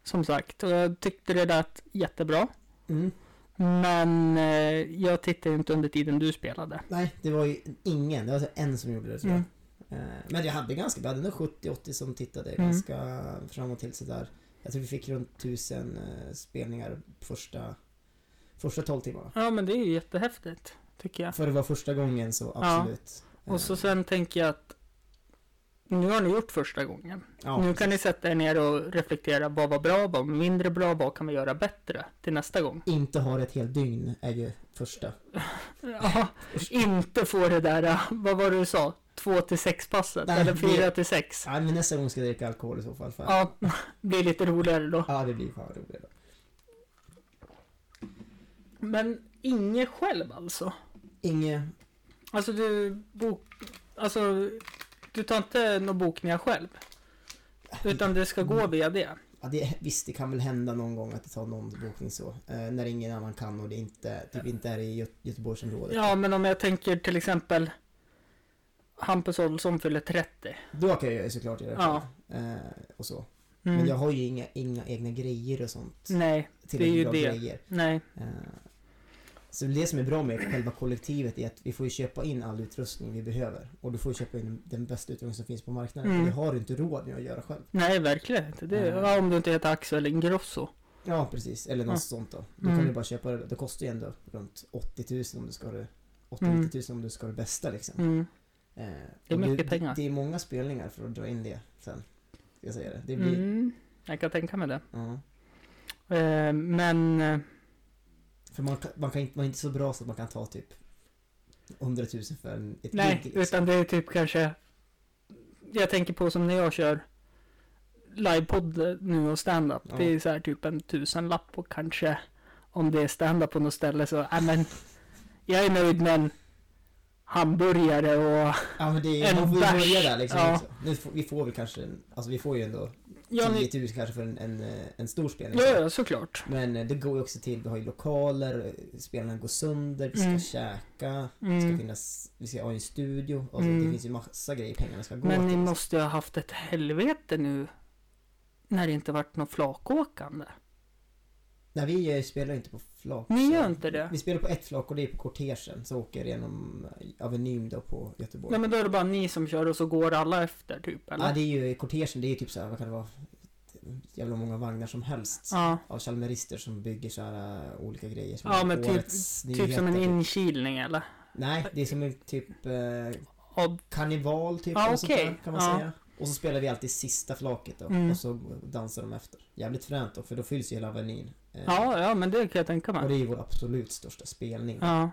Speaker 1: Som sagt, och jag tyckte det lät jättebra.
Speaker 2: Mm.
Speaker 1: Men eh, jag tittade ju inte under tiden du spelade.
Speaker 2: Nej, det var ju ingen. Det var alltså en som gjorde det tror jag.
Speaker 1: Mm.
Speaker 2: Eh, Men jag hade ganska, vi hade nog 70-80 som tittade
Speaker 1: Mm.
Speaker 2: ganska fram och till sådär. Jag tror vi fick runt 1000 eh, spelningar första, första 12 timmarna.
Speaker 1: Ja, men det är ju jättehäftigt, tycker jag.
Speaker 2: För det var första gången så
Speaker 1: Ja.
Speaker 2: absolut. Eh,
Speaker 1: Och så sen tänker jag att nu har ni gjort första gången.
Speaker 2: ja,
Speaker 1: nu kan ni sätta er ner och reflektera. Vad var bra? Vad var mindre bra? Vad kan vi göra bättre till nästa gång?
Speaker 2: Inte ha ett helt dygn är ju första.
Speaker 1: Ja, inte få det där, äh, vad var det du sa? Två till sex passet
Speaker 2: Nej,
Speaker 1: eller fyra
Speaker 2: det-
Speaker 1: till sex.
Speaker 2: Nej men nästa gång ska jag dricka alkohol i så fall. För...
Speaker 1: Ja, (laughs) blir lite roligare då.
Speaker 2: ja, det blir fan roligare.
Speaker 1: Men inget själv alltså?
Speaker 2: Inge,
Speaker 1: Alltså du bok... Alltså, du tar inte några bokningar själv? Utan det ska gå via det?
Speaker 2: ja, det, visst det kan väl hända någon gång att det tar någon bokning så. Eh, när ingen annan kan och det inte, typ inte är i Göte- Göteborgsområdet.
Speaker 1: Ja, men om jag tänker till exempel Hampus Olsson fyller 30.
Speaker 2: Då kan jag ju såklart göra det.
Speaker 1: Ja.
Speaker 2: Eh, och så.
Speaker 1: Mm.
Speaker 2: Men jag har ju inga, inga egna grejer och sånt.
Speaker 1: Nej, det är ju
Speaker 2: Tillräckligt bra
Speaker 1: det.
Speaker 2: Grejer.
Speaker 1: nej.
Speaker 2: Eh, Så det som är bra med själva kollektivet är att vi får ju köpa in all utrustning vi behöver. Och du får ju köpa in den bästa utrustning som finns på marknaden.
Speaker 1: Mm.
Speaker 2: Mm. Det har du inte råd med att göra själv.
Speaker 1: Nej, verkligen inte. Det,
Speaker 2: Mm.
Speaker 1: ja, om du inte heter Axel Ingrosso.
Speaker 2: Ja, precis. Eller något
Speaker 1: Ja.
Speaker 2: sånt då. Då
Speaker 1: Mm.
Speaker 2: kan du bara köpa det. Det kostar ju ändå runt 80 000 om du ska ha det. 80
Speaker 1: Mm.
Speaker 2: 90 000 om du ska ha det bästa liksom.
Speaker 1: Mm.
Speaker 2: Eh,
Speaker 1: Det är
Speaker 2: och
Speaker 1: mycket pengar.
Speaker 2: Det, det är många spelningar för att dra in det sen. Ska jag säga det. Det blir...
Speaker 1: Mm. Jag kan tänka mig det.
Speaker 2: Ja.
Speaker 1: Eh, men eh,
Speaker 2: För man, kan- man, kan inte, man är inte så bra så att man kan ta typ 100 000 för en, ett
Speaker 1: nej,
Speaker 2: gig. Liksom.
Speaker 1: utan det är typ kanske... Jag tänker på som när jag kör livepodd nu och stand-up.
Speaker 2: Ja.
Speaker 1: Det är så här typ en tusenlapp och kanske om det är stand-up på något ställe så, äh, men jag är nöjd med en hamburgare och
Speaker 2: Ja, men det är,
Speaker 1: en
Speaker 2: man får ju
Speaker 1: bärs.
Speaker 2: börja där liksom.
Speaker 1: Ja.
Speaker 2: Också. Nu får, vi får väl kanske en, alltså vi får ju ändå
Speaker 1: Ja, ni,
Speaker 2: 10 000 kanske för en, en, eh, en stor spelning.
Speaker 1: ja, ja, såklart.
Speaker 2: Men eh, det går ju också till, vi har ju lokaler, eh, spelarna går sönder, vi ska
Speaker 1: Mm.
Speaker 2: käka, det ska
Speaker 1: Mm.
Speaker 2: finnas, vi ska ha en studio. Alltså
Speaker 1: Mm.
Speaker 2: det finns ju massa grejer pengarna ska gå
Speaker 1: Men ni
Speaker 2: till.
Speaker 1: måste ju ha haft ett helvete nu. När det inte varit något flakåkande.
Speaker 2: Nej, vi eh, spelar inte på flak.
Speaker 1: Ni
Speaker 2: så-
Speaker 1: gör inte det?
Speaker 2: Vi spelar på ett flak och det är på kortegen, så åker genom eh, Avenyn då på Göteborg.
Speaker 1: Nej men då är det bara ni som kör och så går alla efter typ eller?
Speaker 2: Ja, det är ju kortegen, det är typ såhär, vad kan det vara? jävla många vagnar som helst.
Speaker 1: Ja,
Speaker 2: Av chalmerister som bygger så här äh, olika grejer. Som
Speaker 1: Ja, men typ-
Speaker 2: årets
Speaker 1: typ som en
Speaker 2: nyheter.
Speaker 1: inkilning eller?
Speaker 2: Nej, det är som en typ eh,
Speaker 1: Odd.
Speaker 2: karneval typ.
Speaker 1: Ja,
Speaker 2: eller sånt där,
Speaker 1: okej.
Speaker 2: kan man
Speaker 1: Ja.
Speaker 2: säga. Och så spelar vi alltid sista flaket då.
Speaker 1: Mm.
Speaker 2: Och så dansar de efter. Jävligt fränt då, för då fylls ju hela avenyn. Eh,
Speaker 1: Ja, ja, men det kan jag tänka
Speaker 2: Och det
Speaker 1: mig.
Speaker 2: är ju vår absolut största spelning.
Speaker 1: Ja.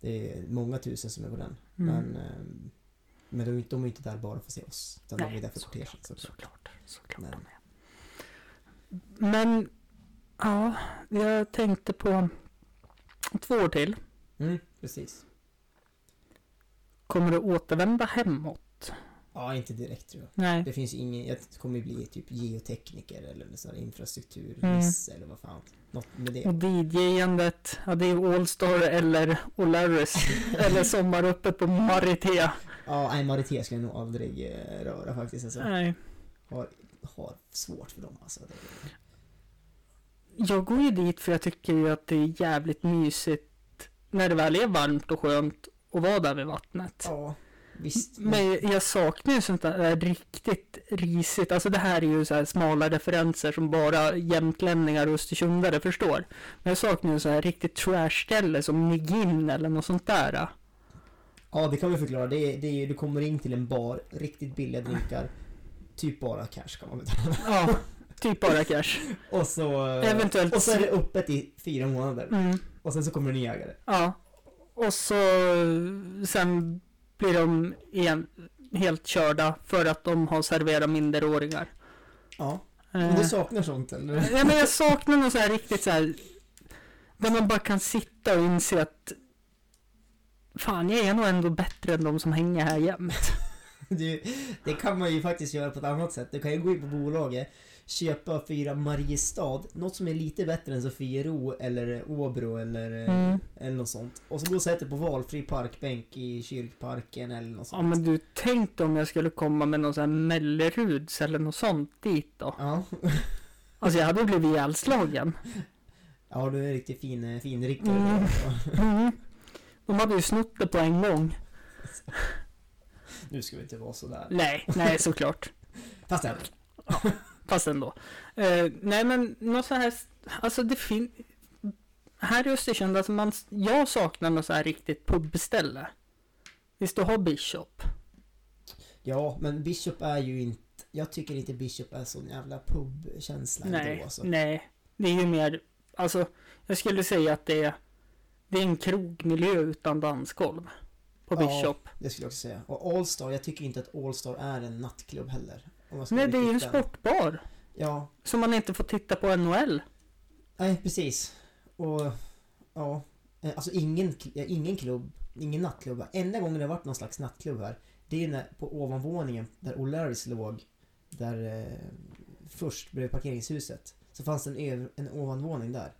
Speaker 2: Det är många tusen som är på den.
Speaker 1: Mm.
Speaker 2: Men, eh, men de, är inte- de är inte där bara för att se oss. Utan de
Speaker 1: Nej,
Speaker 2: är där för
Speaker 1: såklart,
Speaker 2: kortegen. så-
Speaker 1: Såklart, såklart
Speaker 2: Men-
Speaker 1: de är. Men, ja, jag tänkte på två år till.
Speaker 2: Mm, precis.
Speaker 1: Kommer du återvända hemåt?
Speaker 2: Ja, inte direkt tror jag.
Speaker 1: Nej.
Speaker 2: Det finns ju ingen, jag kommer ju bli typ geotekniker eller sån här infrastrukturnisse eller vad fan. Något med det.
Speaker 1: Och DJ-andet, ja det är Allstar eller
Speaker 2: (laughs)
Speaker 1: O'Larrys. eller sommaruppet på Maritea.
Speaker 2: Ja, nej, Marité skulle jag nog aldrig eh, röra faktiskt. Alltså.
Speaker 1: Nej.
Speaker 2: Har svårt för dem alltså. Det är-
Speaker 1: Jag går ju dit för jag tycker ju att det är jävligt mysigt när det väl är varmt och skönt att vara där vid vattnet.
Speaker 2: Ja, visst. Men,
Speaker 1: Men jag saknar ju sånt där riktigt risigt. Alltså det här är ju så här smala referenser som bara jämtlänningar och östersundare förstår. Men jag saknar ju så här riktigt trash-ställe som Nigin eller något sånt där.
Speaker 2: ja, det kan vi förklara. Det är, det är, ju- du kommer in till en bar, riktigt billiga drinkar. Typ bara cash kan man betala.
Speaker 1: Ja, typ bara cash.
Speaker 2: Och så... eh,
Speaker 1: Eventuellt-
Speaker 2: Och så är det öppet i fyra månader.
Speaker 1: Mm,
Speaker 2: Och sen så kommer en ny ägare.
Speaker 1: ja. Och så sen blir de igen, helt körda för att de har serverat minderåringar.
Speaker 2: Ja.
Speaker 1: Eh.
Speaker 2: Men du saknar sånt eller?
Speaker 1: Ja, men jag saknar något så här riktigt så här. Där man bara kan sitta och inse att Fan, jag är nog ändå bättre än de som hänger här jämt.
Speaker 2: Du, det kan man ju faktiskt göra på ett annat sätt. Du kan ju gå in på bolaget, köpa fyra Mariestad, något som är lite bättre än Sofiero eller Åbro eller, eh,
Speaker 1: Mm.
Speaker 2: eller något sånt. Och så gå och sätta dig på valfri parkbänk i kyrkparken eller något sånt.
Speaker 1: Ja, men du, tänk dig om jag skulle komma med någon sån här Melleruds eller något sånt dit då.
Speaker 2: Ja.
Speaker 1: Alltså jag hade blivit ihjälslagen.
Speaker 2: Ja, du är riktigt fin, eh, finriktare.
Speaker 1: Mm.
Speaker 2: där.
Speaker 1: Mm. De hade ju snott det på en gång.
Speaker 2: (laughs) Nu ska vi inte vara sådär.
Speaker 1: Nej, nej såklart.
Speaker 2: Fast ändå.
Speaker 1: Fast ändå. Eh, nej men något så här, alltså det finns... Här i Östersund, alltså man, jag saknar något så här riktigt pubställe. Visst du har Bishop?
Speaker 2: Ja, men Bishop är ju inte... Jag tycker inte Bishop är sån jävla pubkänsla
Speaker 1: nej,
Speaker 2: ändå alltså.
Speaker 1: nej. Det är ju mer, alltså jag skulle säga att det är, det är en krogmiljö utan dansgolv. På
Speaker 2: Ja,
Speaker 1: Bishop.
Speaker 2: Det skulle jag också säga. Och Allstar, jag tycker inte att Allstar är en nattklubb heller. Om jag ska
Speaker 1: nej,
Speaker 2: vara
Speaker 1: det är ju en
Speaker 2: riktigt ärlig.
Speaker 1: sportbar.
Speaker 2: Ja,
Speaker 1: Som man inte får titta på NHL.
Speaker 2: nej precis. Och ja, eh, alltså ingen, kl- eh, ingen klubb, ingen nattklubb. här. Enda gången det har varit någon slags nattklubb här, det är när, på ovanvåningen där O'Larrys låg. Där eh, först bredvid parkeringshuset. Så fanns det en, över, en ovanvåning där.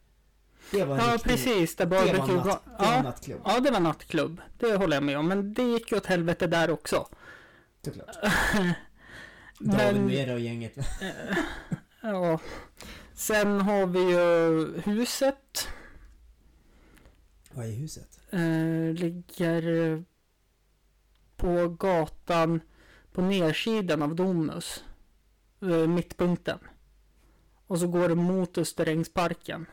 Speaker 2: Det var en
Speaker 1: Ja,
Speaker 2: riktig,
Speaker 1: precis. Där
Speaker 2: Det
Speaker 1: barbecue
Speaker 2: var, en natt,
Speaker 1: var.
Speaker 2: det var en
Speaker 1: Ja,
Speaker 2: nattklubb,
Speaker 1: ja, det var nattklubb. Det håller jag med om. Men det gick ju åt helvete där också. (laughs)
Speaker 2: såklart. David
Speaker 1: Men,
Speaker 2: Mera och gänget.
Speaker 1: ja. Sen har vi ju huset.
Speaker 2: Vad är huset?
Speaker 1: Eh, ligger eh, på gatan på nedsidan av Domus. Eh, mittpunkten. Och så går det mot Österängsparken.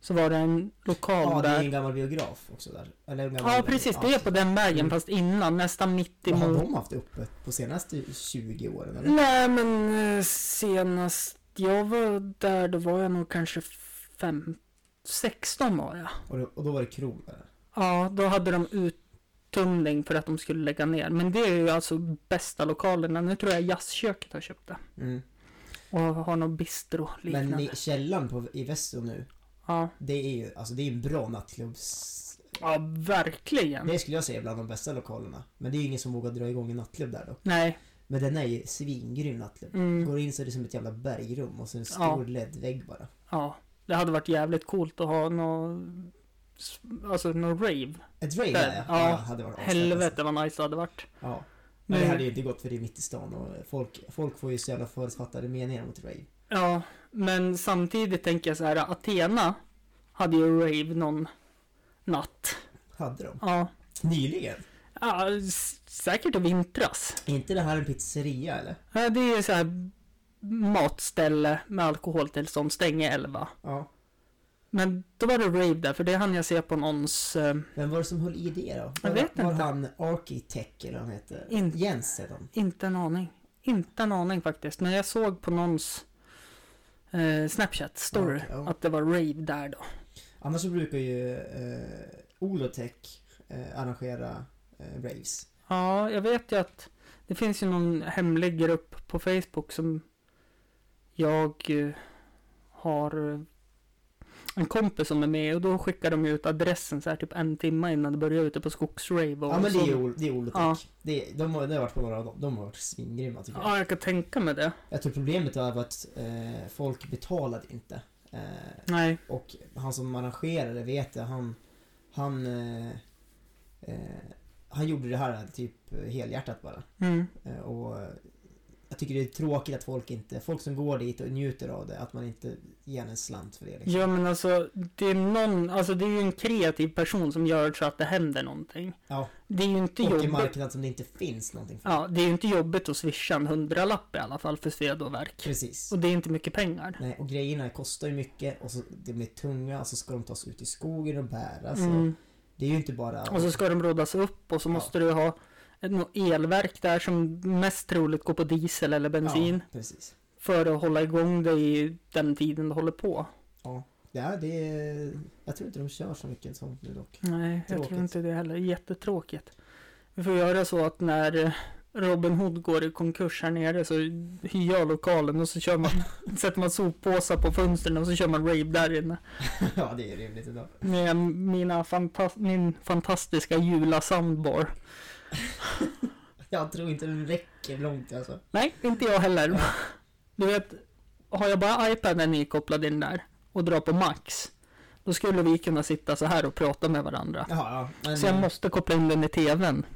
Speaker 1: Så var det en lokal
Speaker 2: Ja, det är
Speaker 1: där.
Speaker 2: en gammal biograf också där. Eller en gammal,
Speaker 1: Ja, precis. Det är på den vägen,
Speaker 2: Mm.
Speaker 1: fast innan. Nästan mitt
Speaker 2: Vad har
Speaker 1: emot.
Speaker 2: de haft uppe på senaste 20 åren eller?
Speaker 1: Nej, men eh, senast jag var där, då var jag nog kanske fem, 16 var jag.
Speaker 2: Och, då- och då var det krog där.
Speaker 1: Ja, då hade de uttömning för att de skulle lägga ner. Men det är ju alltså bästa lokalerna. Nu tror jag jazzköket har köpt det.
Speaker 2: Mm.
Speaker 1: Och har någon bistro
Speaker 2: Men
Speaker 1: liknande.
Speaker 2: i källaren på, i Västern nu,
Speaker 1: Ja.
Speaker 2: det är ju alltså det är en bra nattklubbs...
Speaker 1: ja, verkligen.
Speaker 2: Det skulle jag säga är bland de bästa lokalerna. Men det är ju ingen som vågar dra igång en nattklubb där då.
Speaker 1: Nej.
Speaker 2: Men den är ju svingrym nattklubb.
Speaker 1: Mm.
Speaker 2: Går in så är det som ett jävla bergrum och så en stor
Speaker 1: Ja.
Speaker 2: LED-vägg bara.
Speaker 1: Ja, det hade varit jävligt coolt att ha någon... Alltså någon rave.
Speaker 2: Ett rave
Speaker 1: Där,
Speaker 2: där, ja.
Speaker 1: ja.
Speaker 2: hade varit asfett, alltså.
Speaker 1: Helvete vad nice det hade varit.
Speaker 2: Ja. Men det
Speaker 1: Nu-
Speaker 2: hade ju inte gått för det är mitt i stan och folk, folk får ju så jävla förutfattade meningar mot rave.
Speaker 1: Ja, men samtidigt tänker jag så här, Athena hade ju rave någon natt.
Speaker 2: Hade de?
Speaker 1: Ja,
Speaker 2: Nyligen?
Speaker 1: ja s- säkert i vintras.
Speaker 2: Är inte det här en pizzeria eller?
Speaker 1: Ja, Det är ju så här matställe med alkoholtillstånd stänger 11.
Speaker 2: Ja.
Speaker 1: Men då var det rave där, för det hann jag se på någons... Eh,
Speaker 2: Vem var det som höll i det då?
Speaker 1: Jag
Speaker 2: var,
Speaker 1: vet
Speaker 2: var
Speaker 1: inte.
Speaker 2: han Architect eller vad han hette?
Speaker 1: In-
Speaker 2: Jens heter han.
Speaker 1: inte en aning. Inte en aning faktiskt. Men jag såg på någons eh, Snapchat-story
Speaker 2: Okej, ja.
Speaker 1: att det var rave där då.
Speaker 2: Annars så brukar ju eh, Olotech eh, arrangera eh, raves.
Speaker 1: Ja, jag vet ju att det finns ju någon hemlig grupp på Facebook som jag eh, har eh, en kompis som är med och då skickar de ju ut adressen så här typ en timme innan det börjar ute på skogsrave och
Speaker 2: Ja men det är,
Speaker 1: så.
Speaker 2: Ol- det är Olotech.
Speaker 1: Ja.
Speaker 2: Det, de, har, det har varit på några av dem. De har varit svingrymma tycker jag.
Speaker 1: Ja, jag kan tänka mig det.
Speaker 2: Jag tror problemet var att eh, folk betalade inte. Eh,
Speaker 1: Nej,
Speaker 2: Och han som arrangerade vet jag, han... Han... Eh, eh, han gjorde det här typ helhjärtat bara.
Speaker 1: mm.
Speaker 2: Eh, och eh, jag tycker det är tråkigt att folk inte... Folk som går dit och njuter av det, att man inte ger en slant för det. Liksom.
Speaker 1: Ja men alltså, det är någon, alltså det är ju en kreativ person som gör så att det händer någonting.
Speaker 2: Ja.
Speaker 1: Det är ju inte
Speaker 2: och i
Speaker 1: jobbigt.
Speaker 2: marknad som det inte finns någonting för.
Speaker 1: Ja, det är ju inte jobbigt att swisha en hundralapp i alla fall för sved och värk.
Speaker 2: Precis.
Speaker 1: Och det är inte mycket pengar.
Speaker 2: Nej, och grejerna kostar ju mycket och så, de är tunga och så ska de tas ut i skogen och bäras. Och
Speaker 1: Mm.
Speaker 2: det är ju inte bara...
Speaker 1: Och så ska de roddas upp och så
Speaker 2: Alltså, Ja.
Speaker 1: måste du ha ett nå- elverk där som mest troligt går på diesel eller bensin.
Speaker 2: Ja, precis.
Speaker 1: För att hålla igång det i den tiden det håller på.
Speaker 2: Ja, det är... Jag tror inte de kör så mycket sånt nu dock. (laughs)
Speaker 1: Nej, jag
Speaker 2: Tråkigt.
Speaker 1: tror inte det heller. Jättetråkigt. Vi får göra så att när eh, Robin Hood går i konkurs här nere så hyr jag lokalen och så kör
Speaker 2: (laughs)
Speaker 1: man, sätter man soppåsar på fönstren och så kör man rave där inne.
Speaker 2: ja, det är rimligt idag.
Speaker 1: Med mina fanta- min fantastiska jula soundbar.
Speaker 2: Jag tror inte den räcker långt alltså.
Speaker 1: Nej, inte jag heller. Du vet, har jag bara iPaden ikopplad in där och drar på max, då skulle vi kunna sitta så här och prata med varandra.
Speaker 2: Jaha, ja. Men,
Speaker 1: Så jag måste koppla in den i TVn.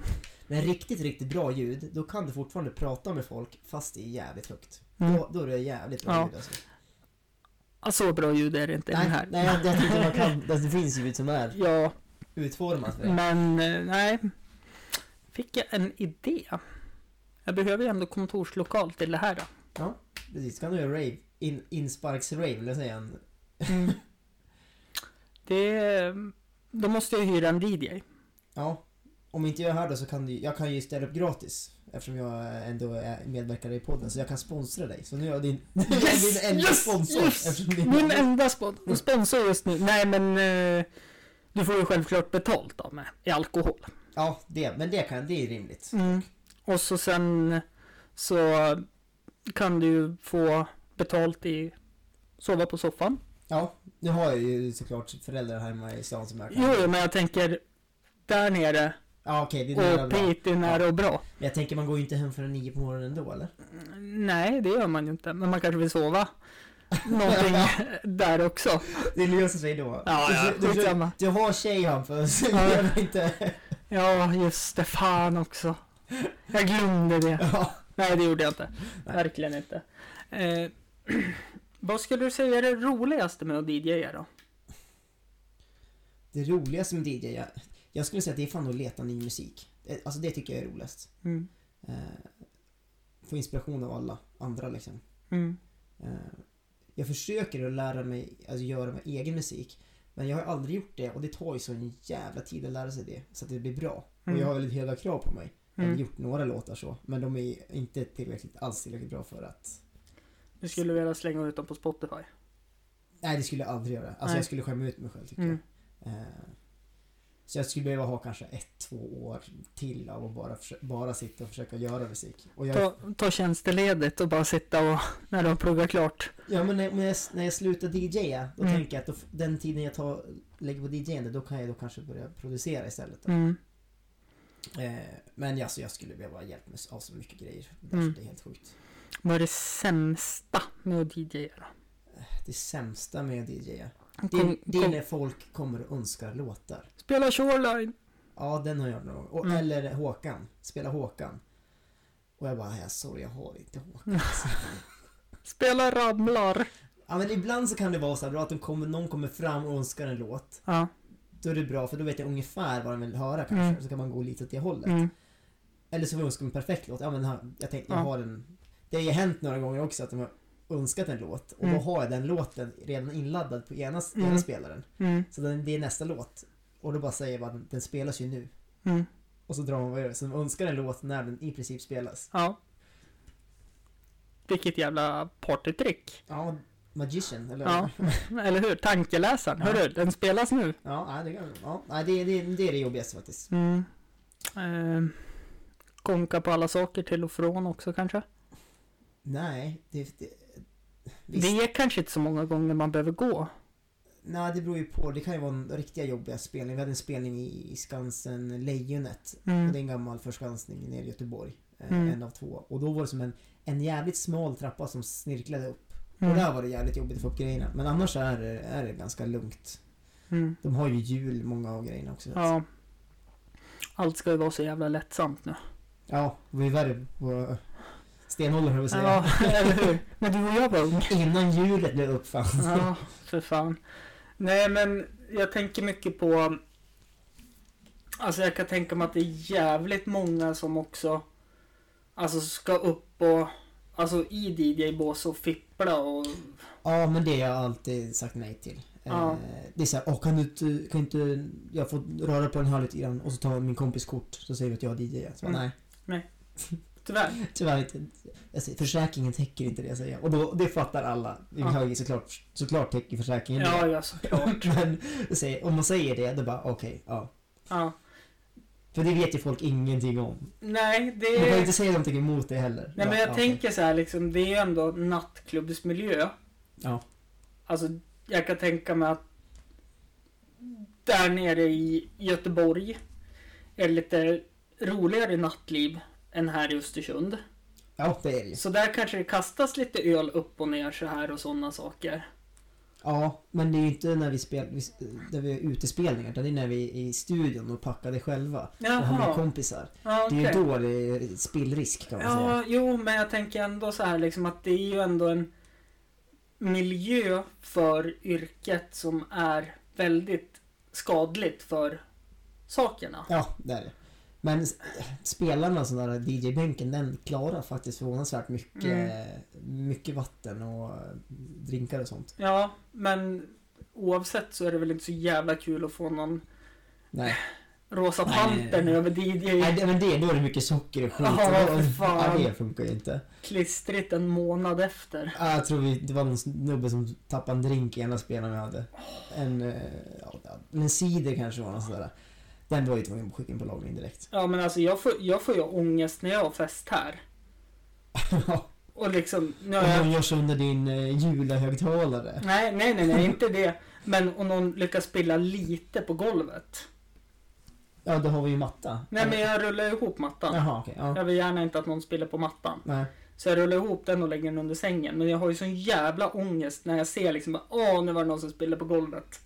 Speaker 2: men riktigt, riktigt bra ljud, då kan du fortfarande prata med folk fast det är jävligt högt.
Speaker 1: Mm.
Speaker 2: Då, då är det jävligt bra
Speaker 1: Ja.
Speaker 2: ljud alltså.
Speaker 1: Ah, Så bra ljud är det inte i den
Speaker 2: Nej,
Speaker 1: här.
Speaker 2: nej, jag, jag tror inte man kan. alltså, Det finns ljud som är
Speaker 1: (laughs) Ja,
Speaker 2: utformat för det.
Speaker 1: men eh, nej. Fick jag en idé? Jag behöver ju ändå kontorslokal till det här då.
Speaker 2: Precis, kan du göra rave. In, Insparks-rave, eller säga en... Mm.
Speaker 1: (laughs) Det, då måste jag hyra en
Speaker 2: (laughs)
Speaker 1: DJ.
Speaker 2: Ja. Om inte jag är här då så kan du Jag kan ju ställa upp gratis. Eftersom jag ändå är medverkar i podden, så jag kan sponsra dig. Så nu är jag din... (laughs)
Speaker 1: Yes,
Speaker 2: din enda
Speaker 1: yes,
Speaker 2: sponsor.
Speaker 1: yes.
Speaker 2: Eftersom din,
Speaker 1: Min enda spon- sponsor just nu. Nej men eh, du får ju självklart betalt av mig i alkohol.
Speaker 2: Ja, det, men det, kan, det är rimligt.
Speaker 1: Mm. Och så sen så kan du ju få betalt i sova på soffan.
Speaker 2: Ja, nu har jag ju såklart föräldrar hemma i stan som jag
Speaker 1: Jo, jo, men jag tänker där nere
Speaker 2: Ja okej, det är
Speaker 1: och
Speaker 2: nära bra.
Speaker 1: Piteå är nära och bra.
Speaker 2: Men Jag tänker man går ju inte hem förrän nio på morgonen då eller?
Speaker 1: Nej, det gör man ju inte. Men man kanske vill sova
Speaker 2: (laughs)
Speaker 1: någonting där också.
Speaker 2: Det löser sig då.
Speaker 1: Ja, ja,
Speaker 2: du, du,
Speaker 1: skitsamma.
Speaker 2: du har tjej Hampus, så du (laughs)
Speaker 1: Ja.
Speaker 2: behöver inte...
Speaker 1: Ja, just det. Fan också. Jag glömde det.
Speaker 2: Ja.
Speaker 1: Nej, det gjorde jag inte.
Speaker 2: Nej.
Speaker 1: Verkligen inte. Eh, (clears throat) vad skulle du säga är det roligaste med att DJa då?
Speaker 2: Det roligaste med DJ, jag, jag skulle säga att det är fan att leta ny musik. Det- Alltså det tycker jag är roligast.
Speaker 1: Mm.
Speaker 2: Eh, få inspiration av alla andra liksom.
Speaker 1: Mm.
Speaker 2: Eh, jag försöker att lära mig, alltså göra min egen musik. Men jag har aldrig gjort det och det tar ju sån jävla tid att lära sig det. Så att det blir bra.
Speaker 1: Mm.
Speaker 2: Och jag har väldigt höga krav på mig. Jag har
Speaker 1: Mm.
Speaker 2: gjort några låtar så, men de är inte tillräckligt, alls tillräckligt bra för att...
Speaker 1: Du skulle vilja slänga ut dem på Spotify?
Speaker 2: Nej, det skulle jag aldrig göra. Alltså
Speaker 1: Nej.
Speaker 2: jag skulle skämma ut mig själv tycker
Speaker 1: Mm.
Speaker 2: jag. Eh, så jag skulle behöva ha kanske ett, två år till av att bara, försö- bara sitta och försöka göra musik. Och jag,
Speaker 1: Ta, ta tjänsteledigt och bara sitta och när du har pluggat klart.
Speaker 2: ja, men när, när, jag, när jag slutar DJa, då
Speaker 1: Mm.
Speaker 2: tänker jag att då, f- den tiden jag tar, lägger på DJande, då kan jag då kanske börja producera istället. Då.
Speaker 1: Mm.
Speaker 2: Eh, men alltså, jag skulle behöva hjälp med, av så mycket grejer.
Speaker 1: Mm.
Speaker 2: Det är helt sjukt.
Speaker 1: Vad är det sämsta med att DJa då?
Speaker 2: Det sämsta med DJa, det,
Speaker 1: Kom,
Speaker 2: det är
Speaker 1: kom,
Speaker 2: när folk kommer och önskar låtar.
Speaker 1: spela Shoreline!
Speaker 2: Ja, den har jag gjort någon gång. Och,
Speaker 1: Mm.
Speaker 2: Eller Håkan. Spela Håkan. Och jag bara, jag sorry jag har inte Håkan.
Speaker 1: Mm. Spela Ramlar!
Speaker 2: (laughs) ja, men ibland så kan det vara så här bra att de kommer, någon kommer fram och önskar en låt.
Speaker 1: Ja,
Speaker 2: Då är det bra för då vet jag ungefär vad de vill höra kanske.
Speaker 1: Mm.
Speaker 2: Så kan man gå lite åt det hållet.
Speaker 1: mm.
Speaker 2: Eller så får jag önska en perfekt låt. Ja, men den här- jag tänkte, jag
Speaker 1: Ja.
Speaker 2: har en... Det har ju hänt några gånger också att de har önskat en låt och
Speaker 1: Mm.
Speaker 2: då har jag den låten redan inladdad på ena, ena
Speaker 1: Mm.
Speaker 2: spelaren.
Speaker 1: Mm.
Speaker 2: Så den, det är nästa låt. Och då bara säger man att den spelas ju nu.
Speaker 1: Mm.
Speaker 2: Och så drar man vad det är. Så man önskar en låt när den i princip spelas.
Speaker 1: Ja. Vilket jävla partytrick.
Speaker 2: Ja, Magician, eller
Speaker 1: Ja. (laughs) Eller hur? Tankeläsaren.
Speaker 2: Ja.
Speaker 1: Hörru, den spelas nu.
Speaker 2: Ja, nej, det, kan- ja, nej, det, det, det är det jobbigaste faktiskt.
Speaker 1: Mm. Ehm, konka på alla saker till och från också kanske.
Speaker 2: Nej, det... det visst.
Speaker 1: Det är kanske inte så många gånger man behöver gå.
Speaker 2: Nej, det beror ju på. Det kan ju vara en riktiga jobbiga spelning. Vi hade en spelning i i Skansen Lejonet. Och Det är en gammal förskansning nere i Göteborg. Eh,
Speaker 1: Mm.
Speaker 2: En av två. Och då var det som en, en jävligt smal trappa som snirklade upp.
Speaker 1: Mm.
Speaker 2: Och där var det jävligt jobbigt att få upp grejerna. Men annars är, det- är det ganska lugnt.
Speaker 1: Mm.
Speaker 2: De har ju hjul många av grejerna också.
Speaker 1: Ja. Allt ska ju vara så jävla lättsamt nu.
Speaker 2: ja, det var ju värre på stenåldern höll jag på att
Speaker 1: Ja,
Speaker 2: säga.
Speaker 1: eller hur? När du och jag var ung.
Speaker 2: Innan hjulet blev uppfanns.
Speaker 1: Ja, för fan. Nej, men jag tänker mycket på... Alltså jag kan tänka mig att det är jävligt många som också alltså ska upp och... Alltså i DJ-bås och fippla och...
Speaker 2: Ja, men det har jag alltid sagt nej till.
Speaker 1: Ja.
Speaker 2: Eh, Det är såhär, åh kan du inte, kan inte jag få röra på den här lite grann och så tar min kompis kort så säger vi att jag är DJ. Så bara,
Speaker 1: Mm.
Speaker 2: nej,
Speaker 1: Tyvärr.
Speaker 2: tyvärr inte. Jag säger, försäkringen täcker inte det jag säger. Och då, det fattar alla. Vi
Speaker 1: Ja.
Speaker 2: har ju såklart, såklart täcker försäkringen
Speaker 1: Ja,
Speaker 2: det.
Speaker 1: ja, såklart.
Speaker 2: (laughs) Men jag säger, om man säger det, då bara okej, ja.
Speaker 1: Ja.
Speaker 2: För det vet ju folk ingenting om.
Speaker 1: Nej, det...
Speaker 2: Man kan inte säga någonting emot det heller.
Speaker 1: Eh. Nej,
Speaker 2: Bara,
Speaker 1: men jag
Speaker 2: ja, okej.
Speaker 1: tänker så här liksom, det är ju ändå nattklubbsmiljö.
Speaker 2: Ja.
Speaker 1: Alltså, jag kan tänka mig att där nere i Göteborg är det lite roligare nattliv än här i Östersund.
Speaker 2: Ja, det är det ju.
Speaker 1: Så där kanske det kastas lite öl upp och ner så här och sådana saker.
Speaker 2: Ja, men det är ju inte när vi spelar, när vi är utespelningar, utan det är när vi är i studion och packade själva. och har med
Speaker 1: Jaha,
Speaker 2: kompisar.
Speaker 1: ja,
Speaker 2: Det är
Speaker 1: okej.
Speaker 2: ju då det är spillrisk kan man säga.
Speaker 1: Ja, jo, men jag tänker ändå så här liksom att det är ju ändå en miljö för yrket som är väldigt skadligt för sakerna.
Speaker 2: Ja, det är det. Men s- spelarna, sån där DJ-bänken, den klarar faktiskt förvånansvärt mycket,
Speaker 1: Mm.
Speaker 2: mycket vatten och eh, drinkar och sånt.
Speaker 1: Ja, men oavsett så är det väl inte så jävla kul att få någon (laughs)
Speaker 2: Nej,
Speaker 1: rosa
Speaker 2: Nej.
Speaker 1: pantern över
Speaker 2: Nej
Speaker 1: DJ
Speaker 2: det- men det, då är det mycket socker och skit.
Speaker 1: Ja,
Speaker 2: och
Speaker 1: för
Speaker 2: då,
Speaker 1: fan.
Speaker 2: Ja, det funkar ju inte.
Speaker 1: klistrigt en månad efter.
Speaker 2: Ja, Jag tror vi, det var någon snubbe som tappade en drink i ena spelaren vi hade. En, eh, ja, en cider kanske var någon sån där. Den var ju tvungen att skicka in på lagring direkt. (laughs)
Speaker 1: Ja, men alltså jag får, jag får ju ångest när jag har fest här.
Speaker 2: Ja,
Speaker 1: Och liksom, nu har
Speaker 2: och
Speaker 1: jag...
Speaker 2: de gör sönder din eh, julahögtalare.
Speaker 1: Nej, nej, nej, nej, inte det. Men om någon lyckas spilla lite på golvet.
Speaker 2: Ja, då har vi ju matta.
Speaker 1: Nej, men jag rullar ihop mattan.
Speaker 2: Jaha, okej. ja.
Speaker 1: Jag vill gärna inte att någon spiller på mattan.
Speaker 2: Nej.
Speaker 1: Så jag rullar ihop den och lägger den under sängen. Men jag har ju sån jävla ångest när jag ser liksom bara, åh, nu var det någon som spillde på golvet.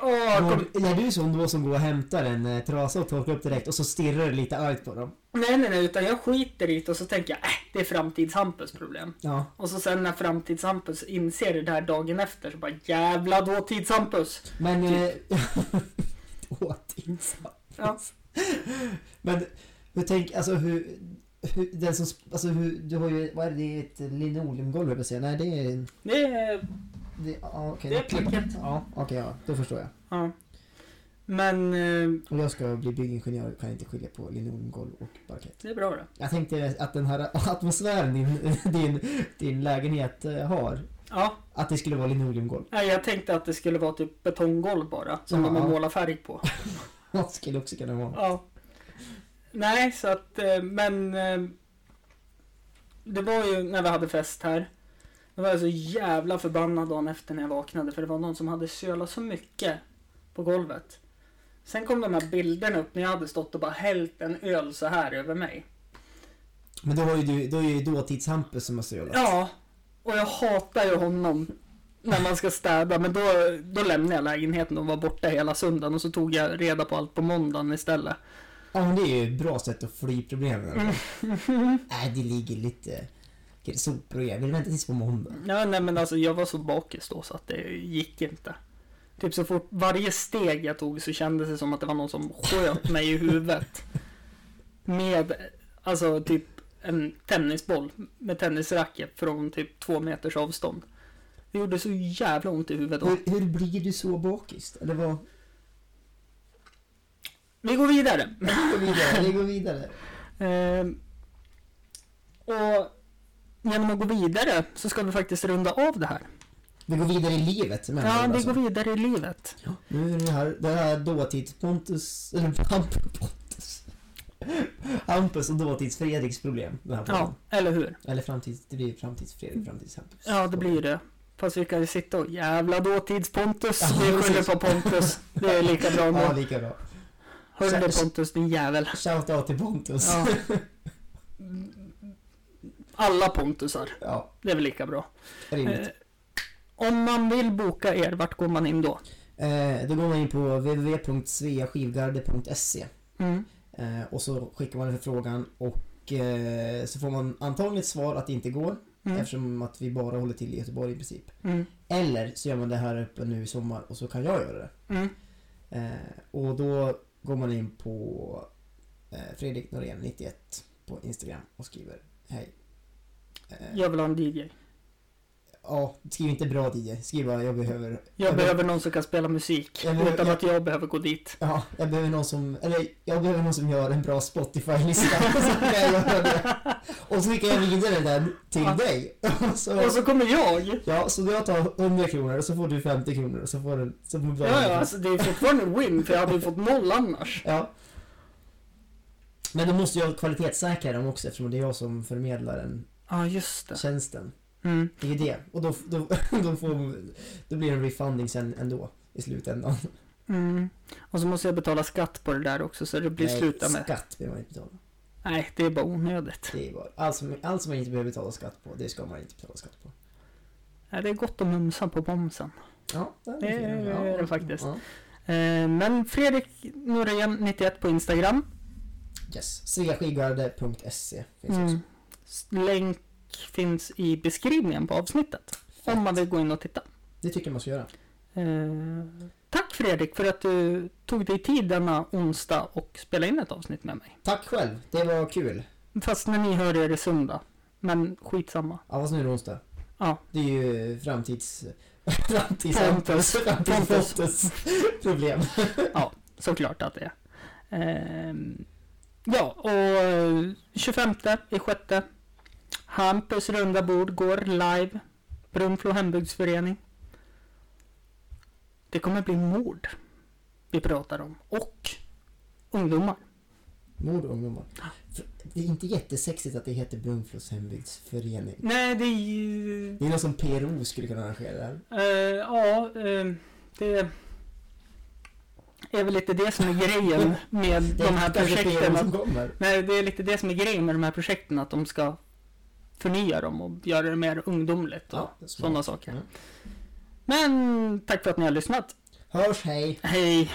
Speaker 1: Åh, kom...
Speaker 2: Var, är du sån då som går och hämtar en eh, trasa och torkar upp direkt och så stirrar du lite argt på dem?
Speaker 1: Nej, nej, nej, utan jag skiter i det och så tänker jag, äh, det är framtidshampus problem.
Speaker 2: Ja.
Speaker 1: Och så sen när framtidshampus inser det där dagen efter så bara, jävla dåtidshampus.
Speaker 2: Men... Eh,
Speaker 1: Typ.
Speaker 2: (laughs) Åtinsamt.
Speaker 1: Ja.
Speaker 2: Men hur tänk, alltså hur... hur den som, sp- alltså hur, du har ju, vad är det, det är ett linoleumgolv höll jag på att säga. Nej det är...
Speaker 1: Det är,
Speaker 2: Det, ja, okej.
Speaker 1: det är plaket.
Speaker 2: Ja, okej ja, då förstår jag.
Speaker 1: Ja. Men eh,
Speaker 2: Om jag ska bli byggingenjör kan jag inte skilja på linoleumgolv och parkett.
Speaker 1: det är bra det.
Speaker 2: Jag tänkte att den här (laughs) atmosfären din, (laughs) din, din lägenhet eh, har,
Speaker 1: Ja,
Speaker 2: att det skulle vara linoleumgolv.
Speaker 1: nej, jag tänkte att det skulle vara typ betonggolv bara, som de har
Speaker 2: Ja.
Speaker 1: målat färg på.
Speaker 2: (laughs) Det skulle också kunna vara.
Speaker 1: Ja. Nej, så att, eh, men... eh, Det var ju när vi hade fest här. Då var jag så jävla förbannad dagen efter när jag vaknade för det var någon som hade sölat så mycket på golvet. Sen kom de här bilderna upp när jag hade stått och bara hällt en öl så här över mig.
Speaker 2: Men då har ju du, då är ju dåtids-Hampus som har sölat.
Speaker 1: Ja, och jag hatar ju honom när man ska städa men då, då lämnade jag lägenheten och var borta hela söndagen och så tog jag reda på allt på måndagen istället.
Speaker 2: ja, men det är ju ett bra sätt att fly problemen. Nej,
Speaker 1: Mm. (laughs)
Speaker 2: det ligger lite sopor och grejer. Vill vänta tills på måndag?
Speaker 1: Ja, nej men alltså jag var så bakis då så att det gick inte. Typ så fort varje steg jag tog så kändes det som att det var någon som sköt mig i huvudet. Med, alltså typ en tennisboll med tennisracket från typ två meters avstånd. Det gjorde så jävla ont i huvudet. då.
Speaker 2: Hur, hur blir du så bakis? Eller vad?
Speaker 1: Vi går vidare.
Speaker 2: Vi går vidare. Vi går vidare.
Speaker 1: Ehm, och genom att gå vidare så ska vi faktiskt runda av det här.
Speaker 2: Vi går vidare i livet med andra
Speaker 1: Ja,
Speaker 2: ord,
Speaker 1: vi
Speaker 2: alltså.
Speaker 1: går vidare i livet.
Speaker 2: Ja, Nu är det här, det här dåtids-Pontus, eller Hampus- Pontus. Hampus och dåtids-Fredriks problem. Den här
Speaker 1: Ja,
Speaker 2: podden.
Speaker 1: eller hur?
Speaker 2: Eller framtids, det blir framtids-Fredrik, framtids-Hampus.
Speaker 1: Ja, det blir det. Fast vi kan ju sitta och jävla dåtids-Pontus.
Speaker 2: Ja,
Speaker 1: Vi skyller
Speaker 2: precis.
Speaker 1: på Pontus. Det är lika bra
Speaker 2: Ja,
Speaker 1: ändå.
Speaker 2: lika bra.
Speaker 1: Hörde du Pontus, din jävel.
Speaker 2: Shoutout till Pontus.
Speaker 1: Ja. Alla Pontusar.
Speaker 2: Ja,
Speaker 1: Det är väl lika bra.
Speaker 2: rimligt.
Speaker 1: Eh, om man vill boka er, vart går man in då?
Speaker 2: Eh, då går man in på www.sveaskivgarde.se
Speaker 1: Mm.
Speaker 2: eh, och så skickar man en förfrågan och eh, så får man antagligen ett svar att det inte går
Speaker 1: Mm.
Speaker 2: eftersom att vi bara håller till i Göteborg i princip.
Speaker 1: Mm.
Speaker 2: Eller så gör man det här uppe nu i sommar och så kan jag göra det.
Speaker 1: Mm.
Speaker 2: Eh, och då går man in på eh, Fredrik Norén 91 på Instagram och skriver hej. Eh, ja.
Speaker 1: Jag vill ha en DJ.
Speaker 2: skriv inte bra DJ, skriv bara jag behöver...
Speaker 1: Jag behöver någon som kan spela musik.
Speaker 2: Jag behöver-
Speaker 1: Utan
Speaker 2: jag-
Speaker 1: att jag behöver gå dit.
Speaker 2: Ja, jag behöver någon som, eller jag behöver någon som gör en bra Spotify-lista. (laughs) så kan jag göra det.
Speaker 1: (laughs)
Speaker 2: Och så skickar jag vidare den till
Speaker 1: Ja.
Speaker 2: dig. (laughs) Och
Speaker 1: Och
Speaker 2: så,
Speaker 1: så kommer jag!
Speaker 2: ja, så jag tar 100 kronor och så får du 50 kronor och så får du... Så får du
Speaker 1: Ja, ja, alltså det är fortfarande en win, för jag hade ju fått noll annars.
Speaker 2: Ja. Men då måste jag kvalitetssäkra dem också eftersom det är jag som förmedlar den
Speaker 1: Ja, just det.
Speaker 2: tjänsten.
Speaker 1: Mm.
Speaker 2: Det är ju det. Och då, då, (laughs) då, får, då blir det en refunding sen ändå i slutändan.
Speaker 1: Mm. Och så måste jag betala skatt på det där också, så det blir
Speaker 2: Nej,
Speaker 1: sluta med.
Speaker 2: Skatt behöver man inte betala.
Speaker 1: Nej, det är bara onödigt.
Speaker 2: Det är bara, allt, som, allt som man inte behöver betala skatt på, det ska man inte betala skatt på.
Speaker 1: Nej, det är gott att mumsa på bomsen.
Speaker 2: Ja,
Speaker 1: Det
Speaker 2: fin.
Speaker 1: är
Speaker 2: Ja,
Speaker 1: det faktiskt.
Speaker 2: Ja.
Speaker 1: Eh, men Fredrik Norén, 91 på Instagram.
Speaker 2: Yes. Sveaskivgarde.se E finns
Speaker 1: Mm.
Speaker 2: också.
Speaker 1: Länk finns i beskrivningen på avsnittet. Om man vill gå in och titta.
Speaker 2: Det tycker jag man ska göra.
Speaker 1: Eh, tack Fredrik för att du tog dig tid denna onsdag och spelade in ett avsnitt med mig.
Speaker 2: Tack själv, det var kul.
Speaker 1: Fast när ni hör det är det söndag. Men
Speaker 2: (laughs)
Speaker 1: skitsamma.
Speaker 2: Ja, fast nu är det onsdag.
Speaker 1: Ja.
Speaker 2: Det är ju framtids... framtids...
Speaker 1: Pontus. Pontus.
Speaker 2: Pontus. Pontus. Problem.
Speaker 1: Såklart att det är. Ehm, ja, och eh, 25 i sjätte. Hampus runda bord går live. Brunflo hembygdsförening. Det kommer bli mord vi pratar om. Och ungdomar.
Speaker 2: Mord och ungdomar. För Det är inte jättesexigt att det heter Brunflos hembygdsförening.
Speaker 1: Nej, det är ju...
Speaker 2: Det är något som PRO skulle kunna arrangera det här.
Speaker 1: Eh, ja, eh, det är väl lite det som är (laughs) grejen med
Speaker 2: Det
Speaker 1: de
Speaker 2: är
Speaker 1: här
Speaker 2: kanske
Speaker 1: projekten.
Speaker 2: PRO
Speaker 1: Att,
Speaker 2: som kommer.
Speaker 1: nej, det är lite det som är grejen med de här projekten, att de ska förnya dem och göra det mer ungdomligt och
Speaker 2: Ja, det är smart.
Speaker 1: sådana saker.
Speaker 2: Ja.
Speaker 1: Men tack för att ni har lyssnat.
Speaker 2: Hörs, hej!
Speaker 1: Hej!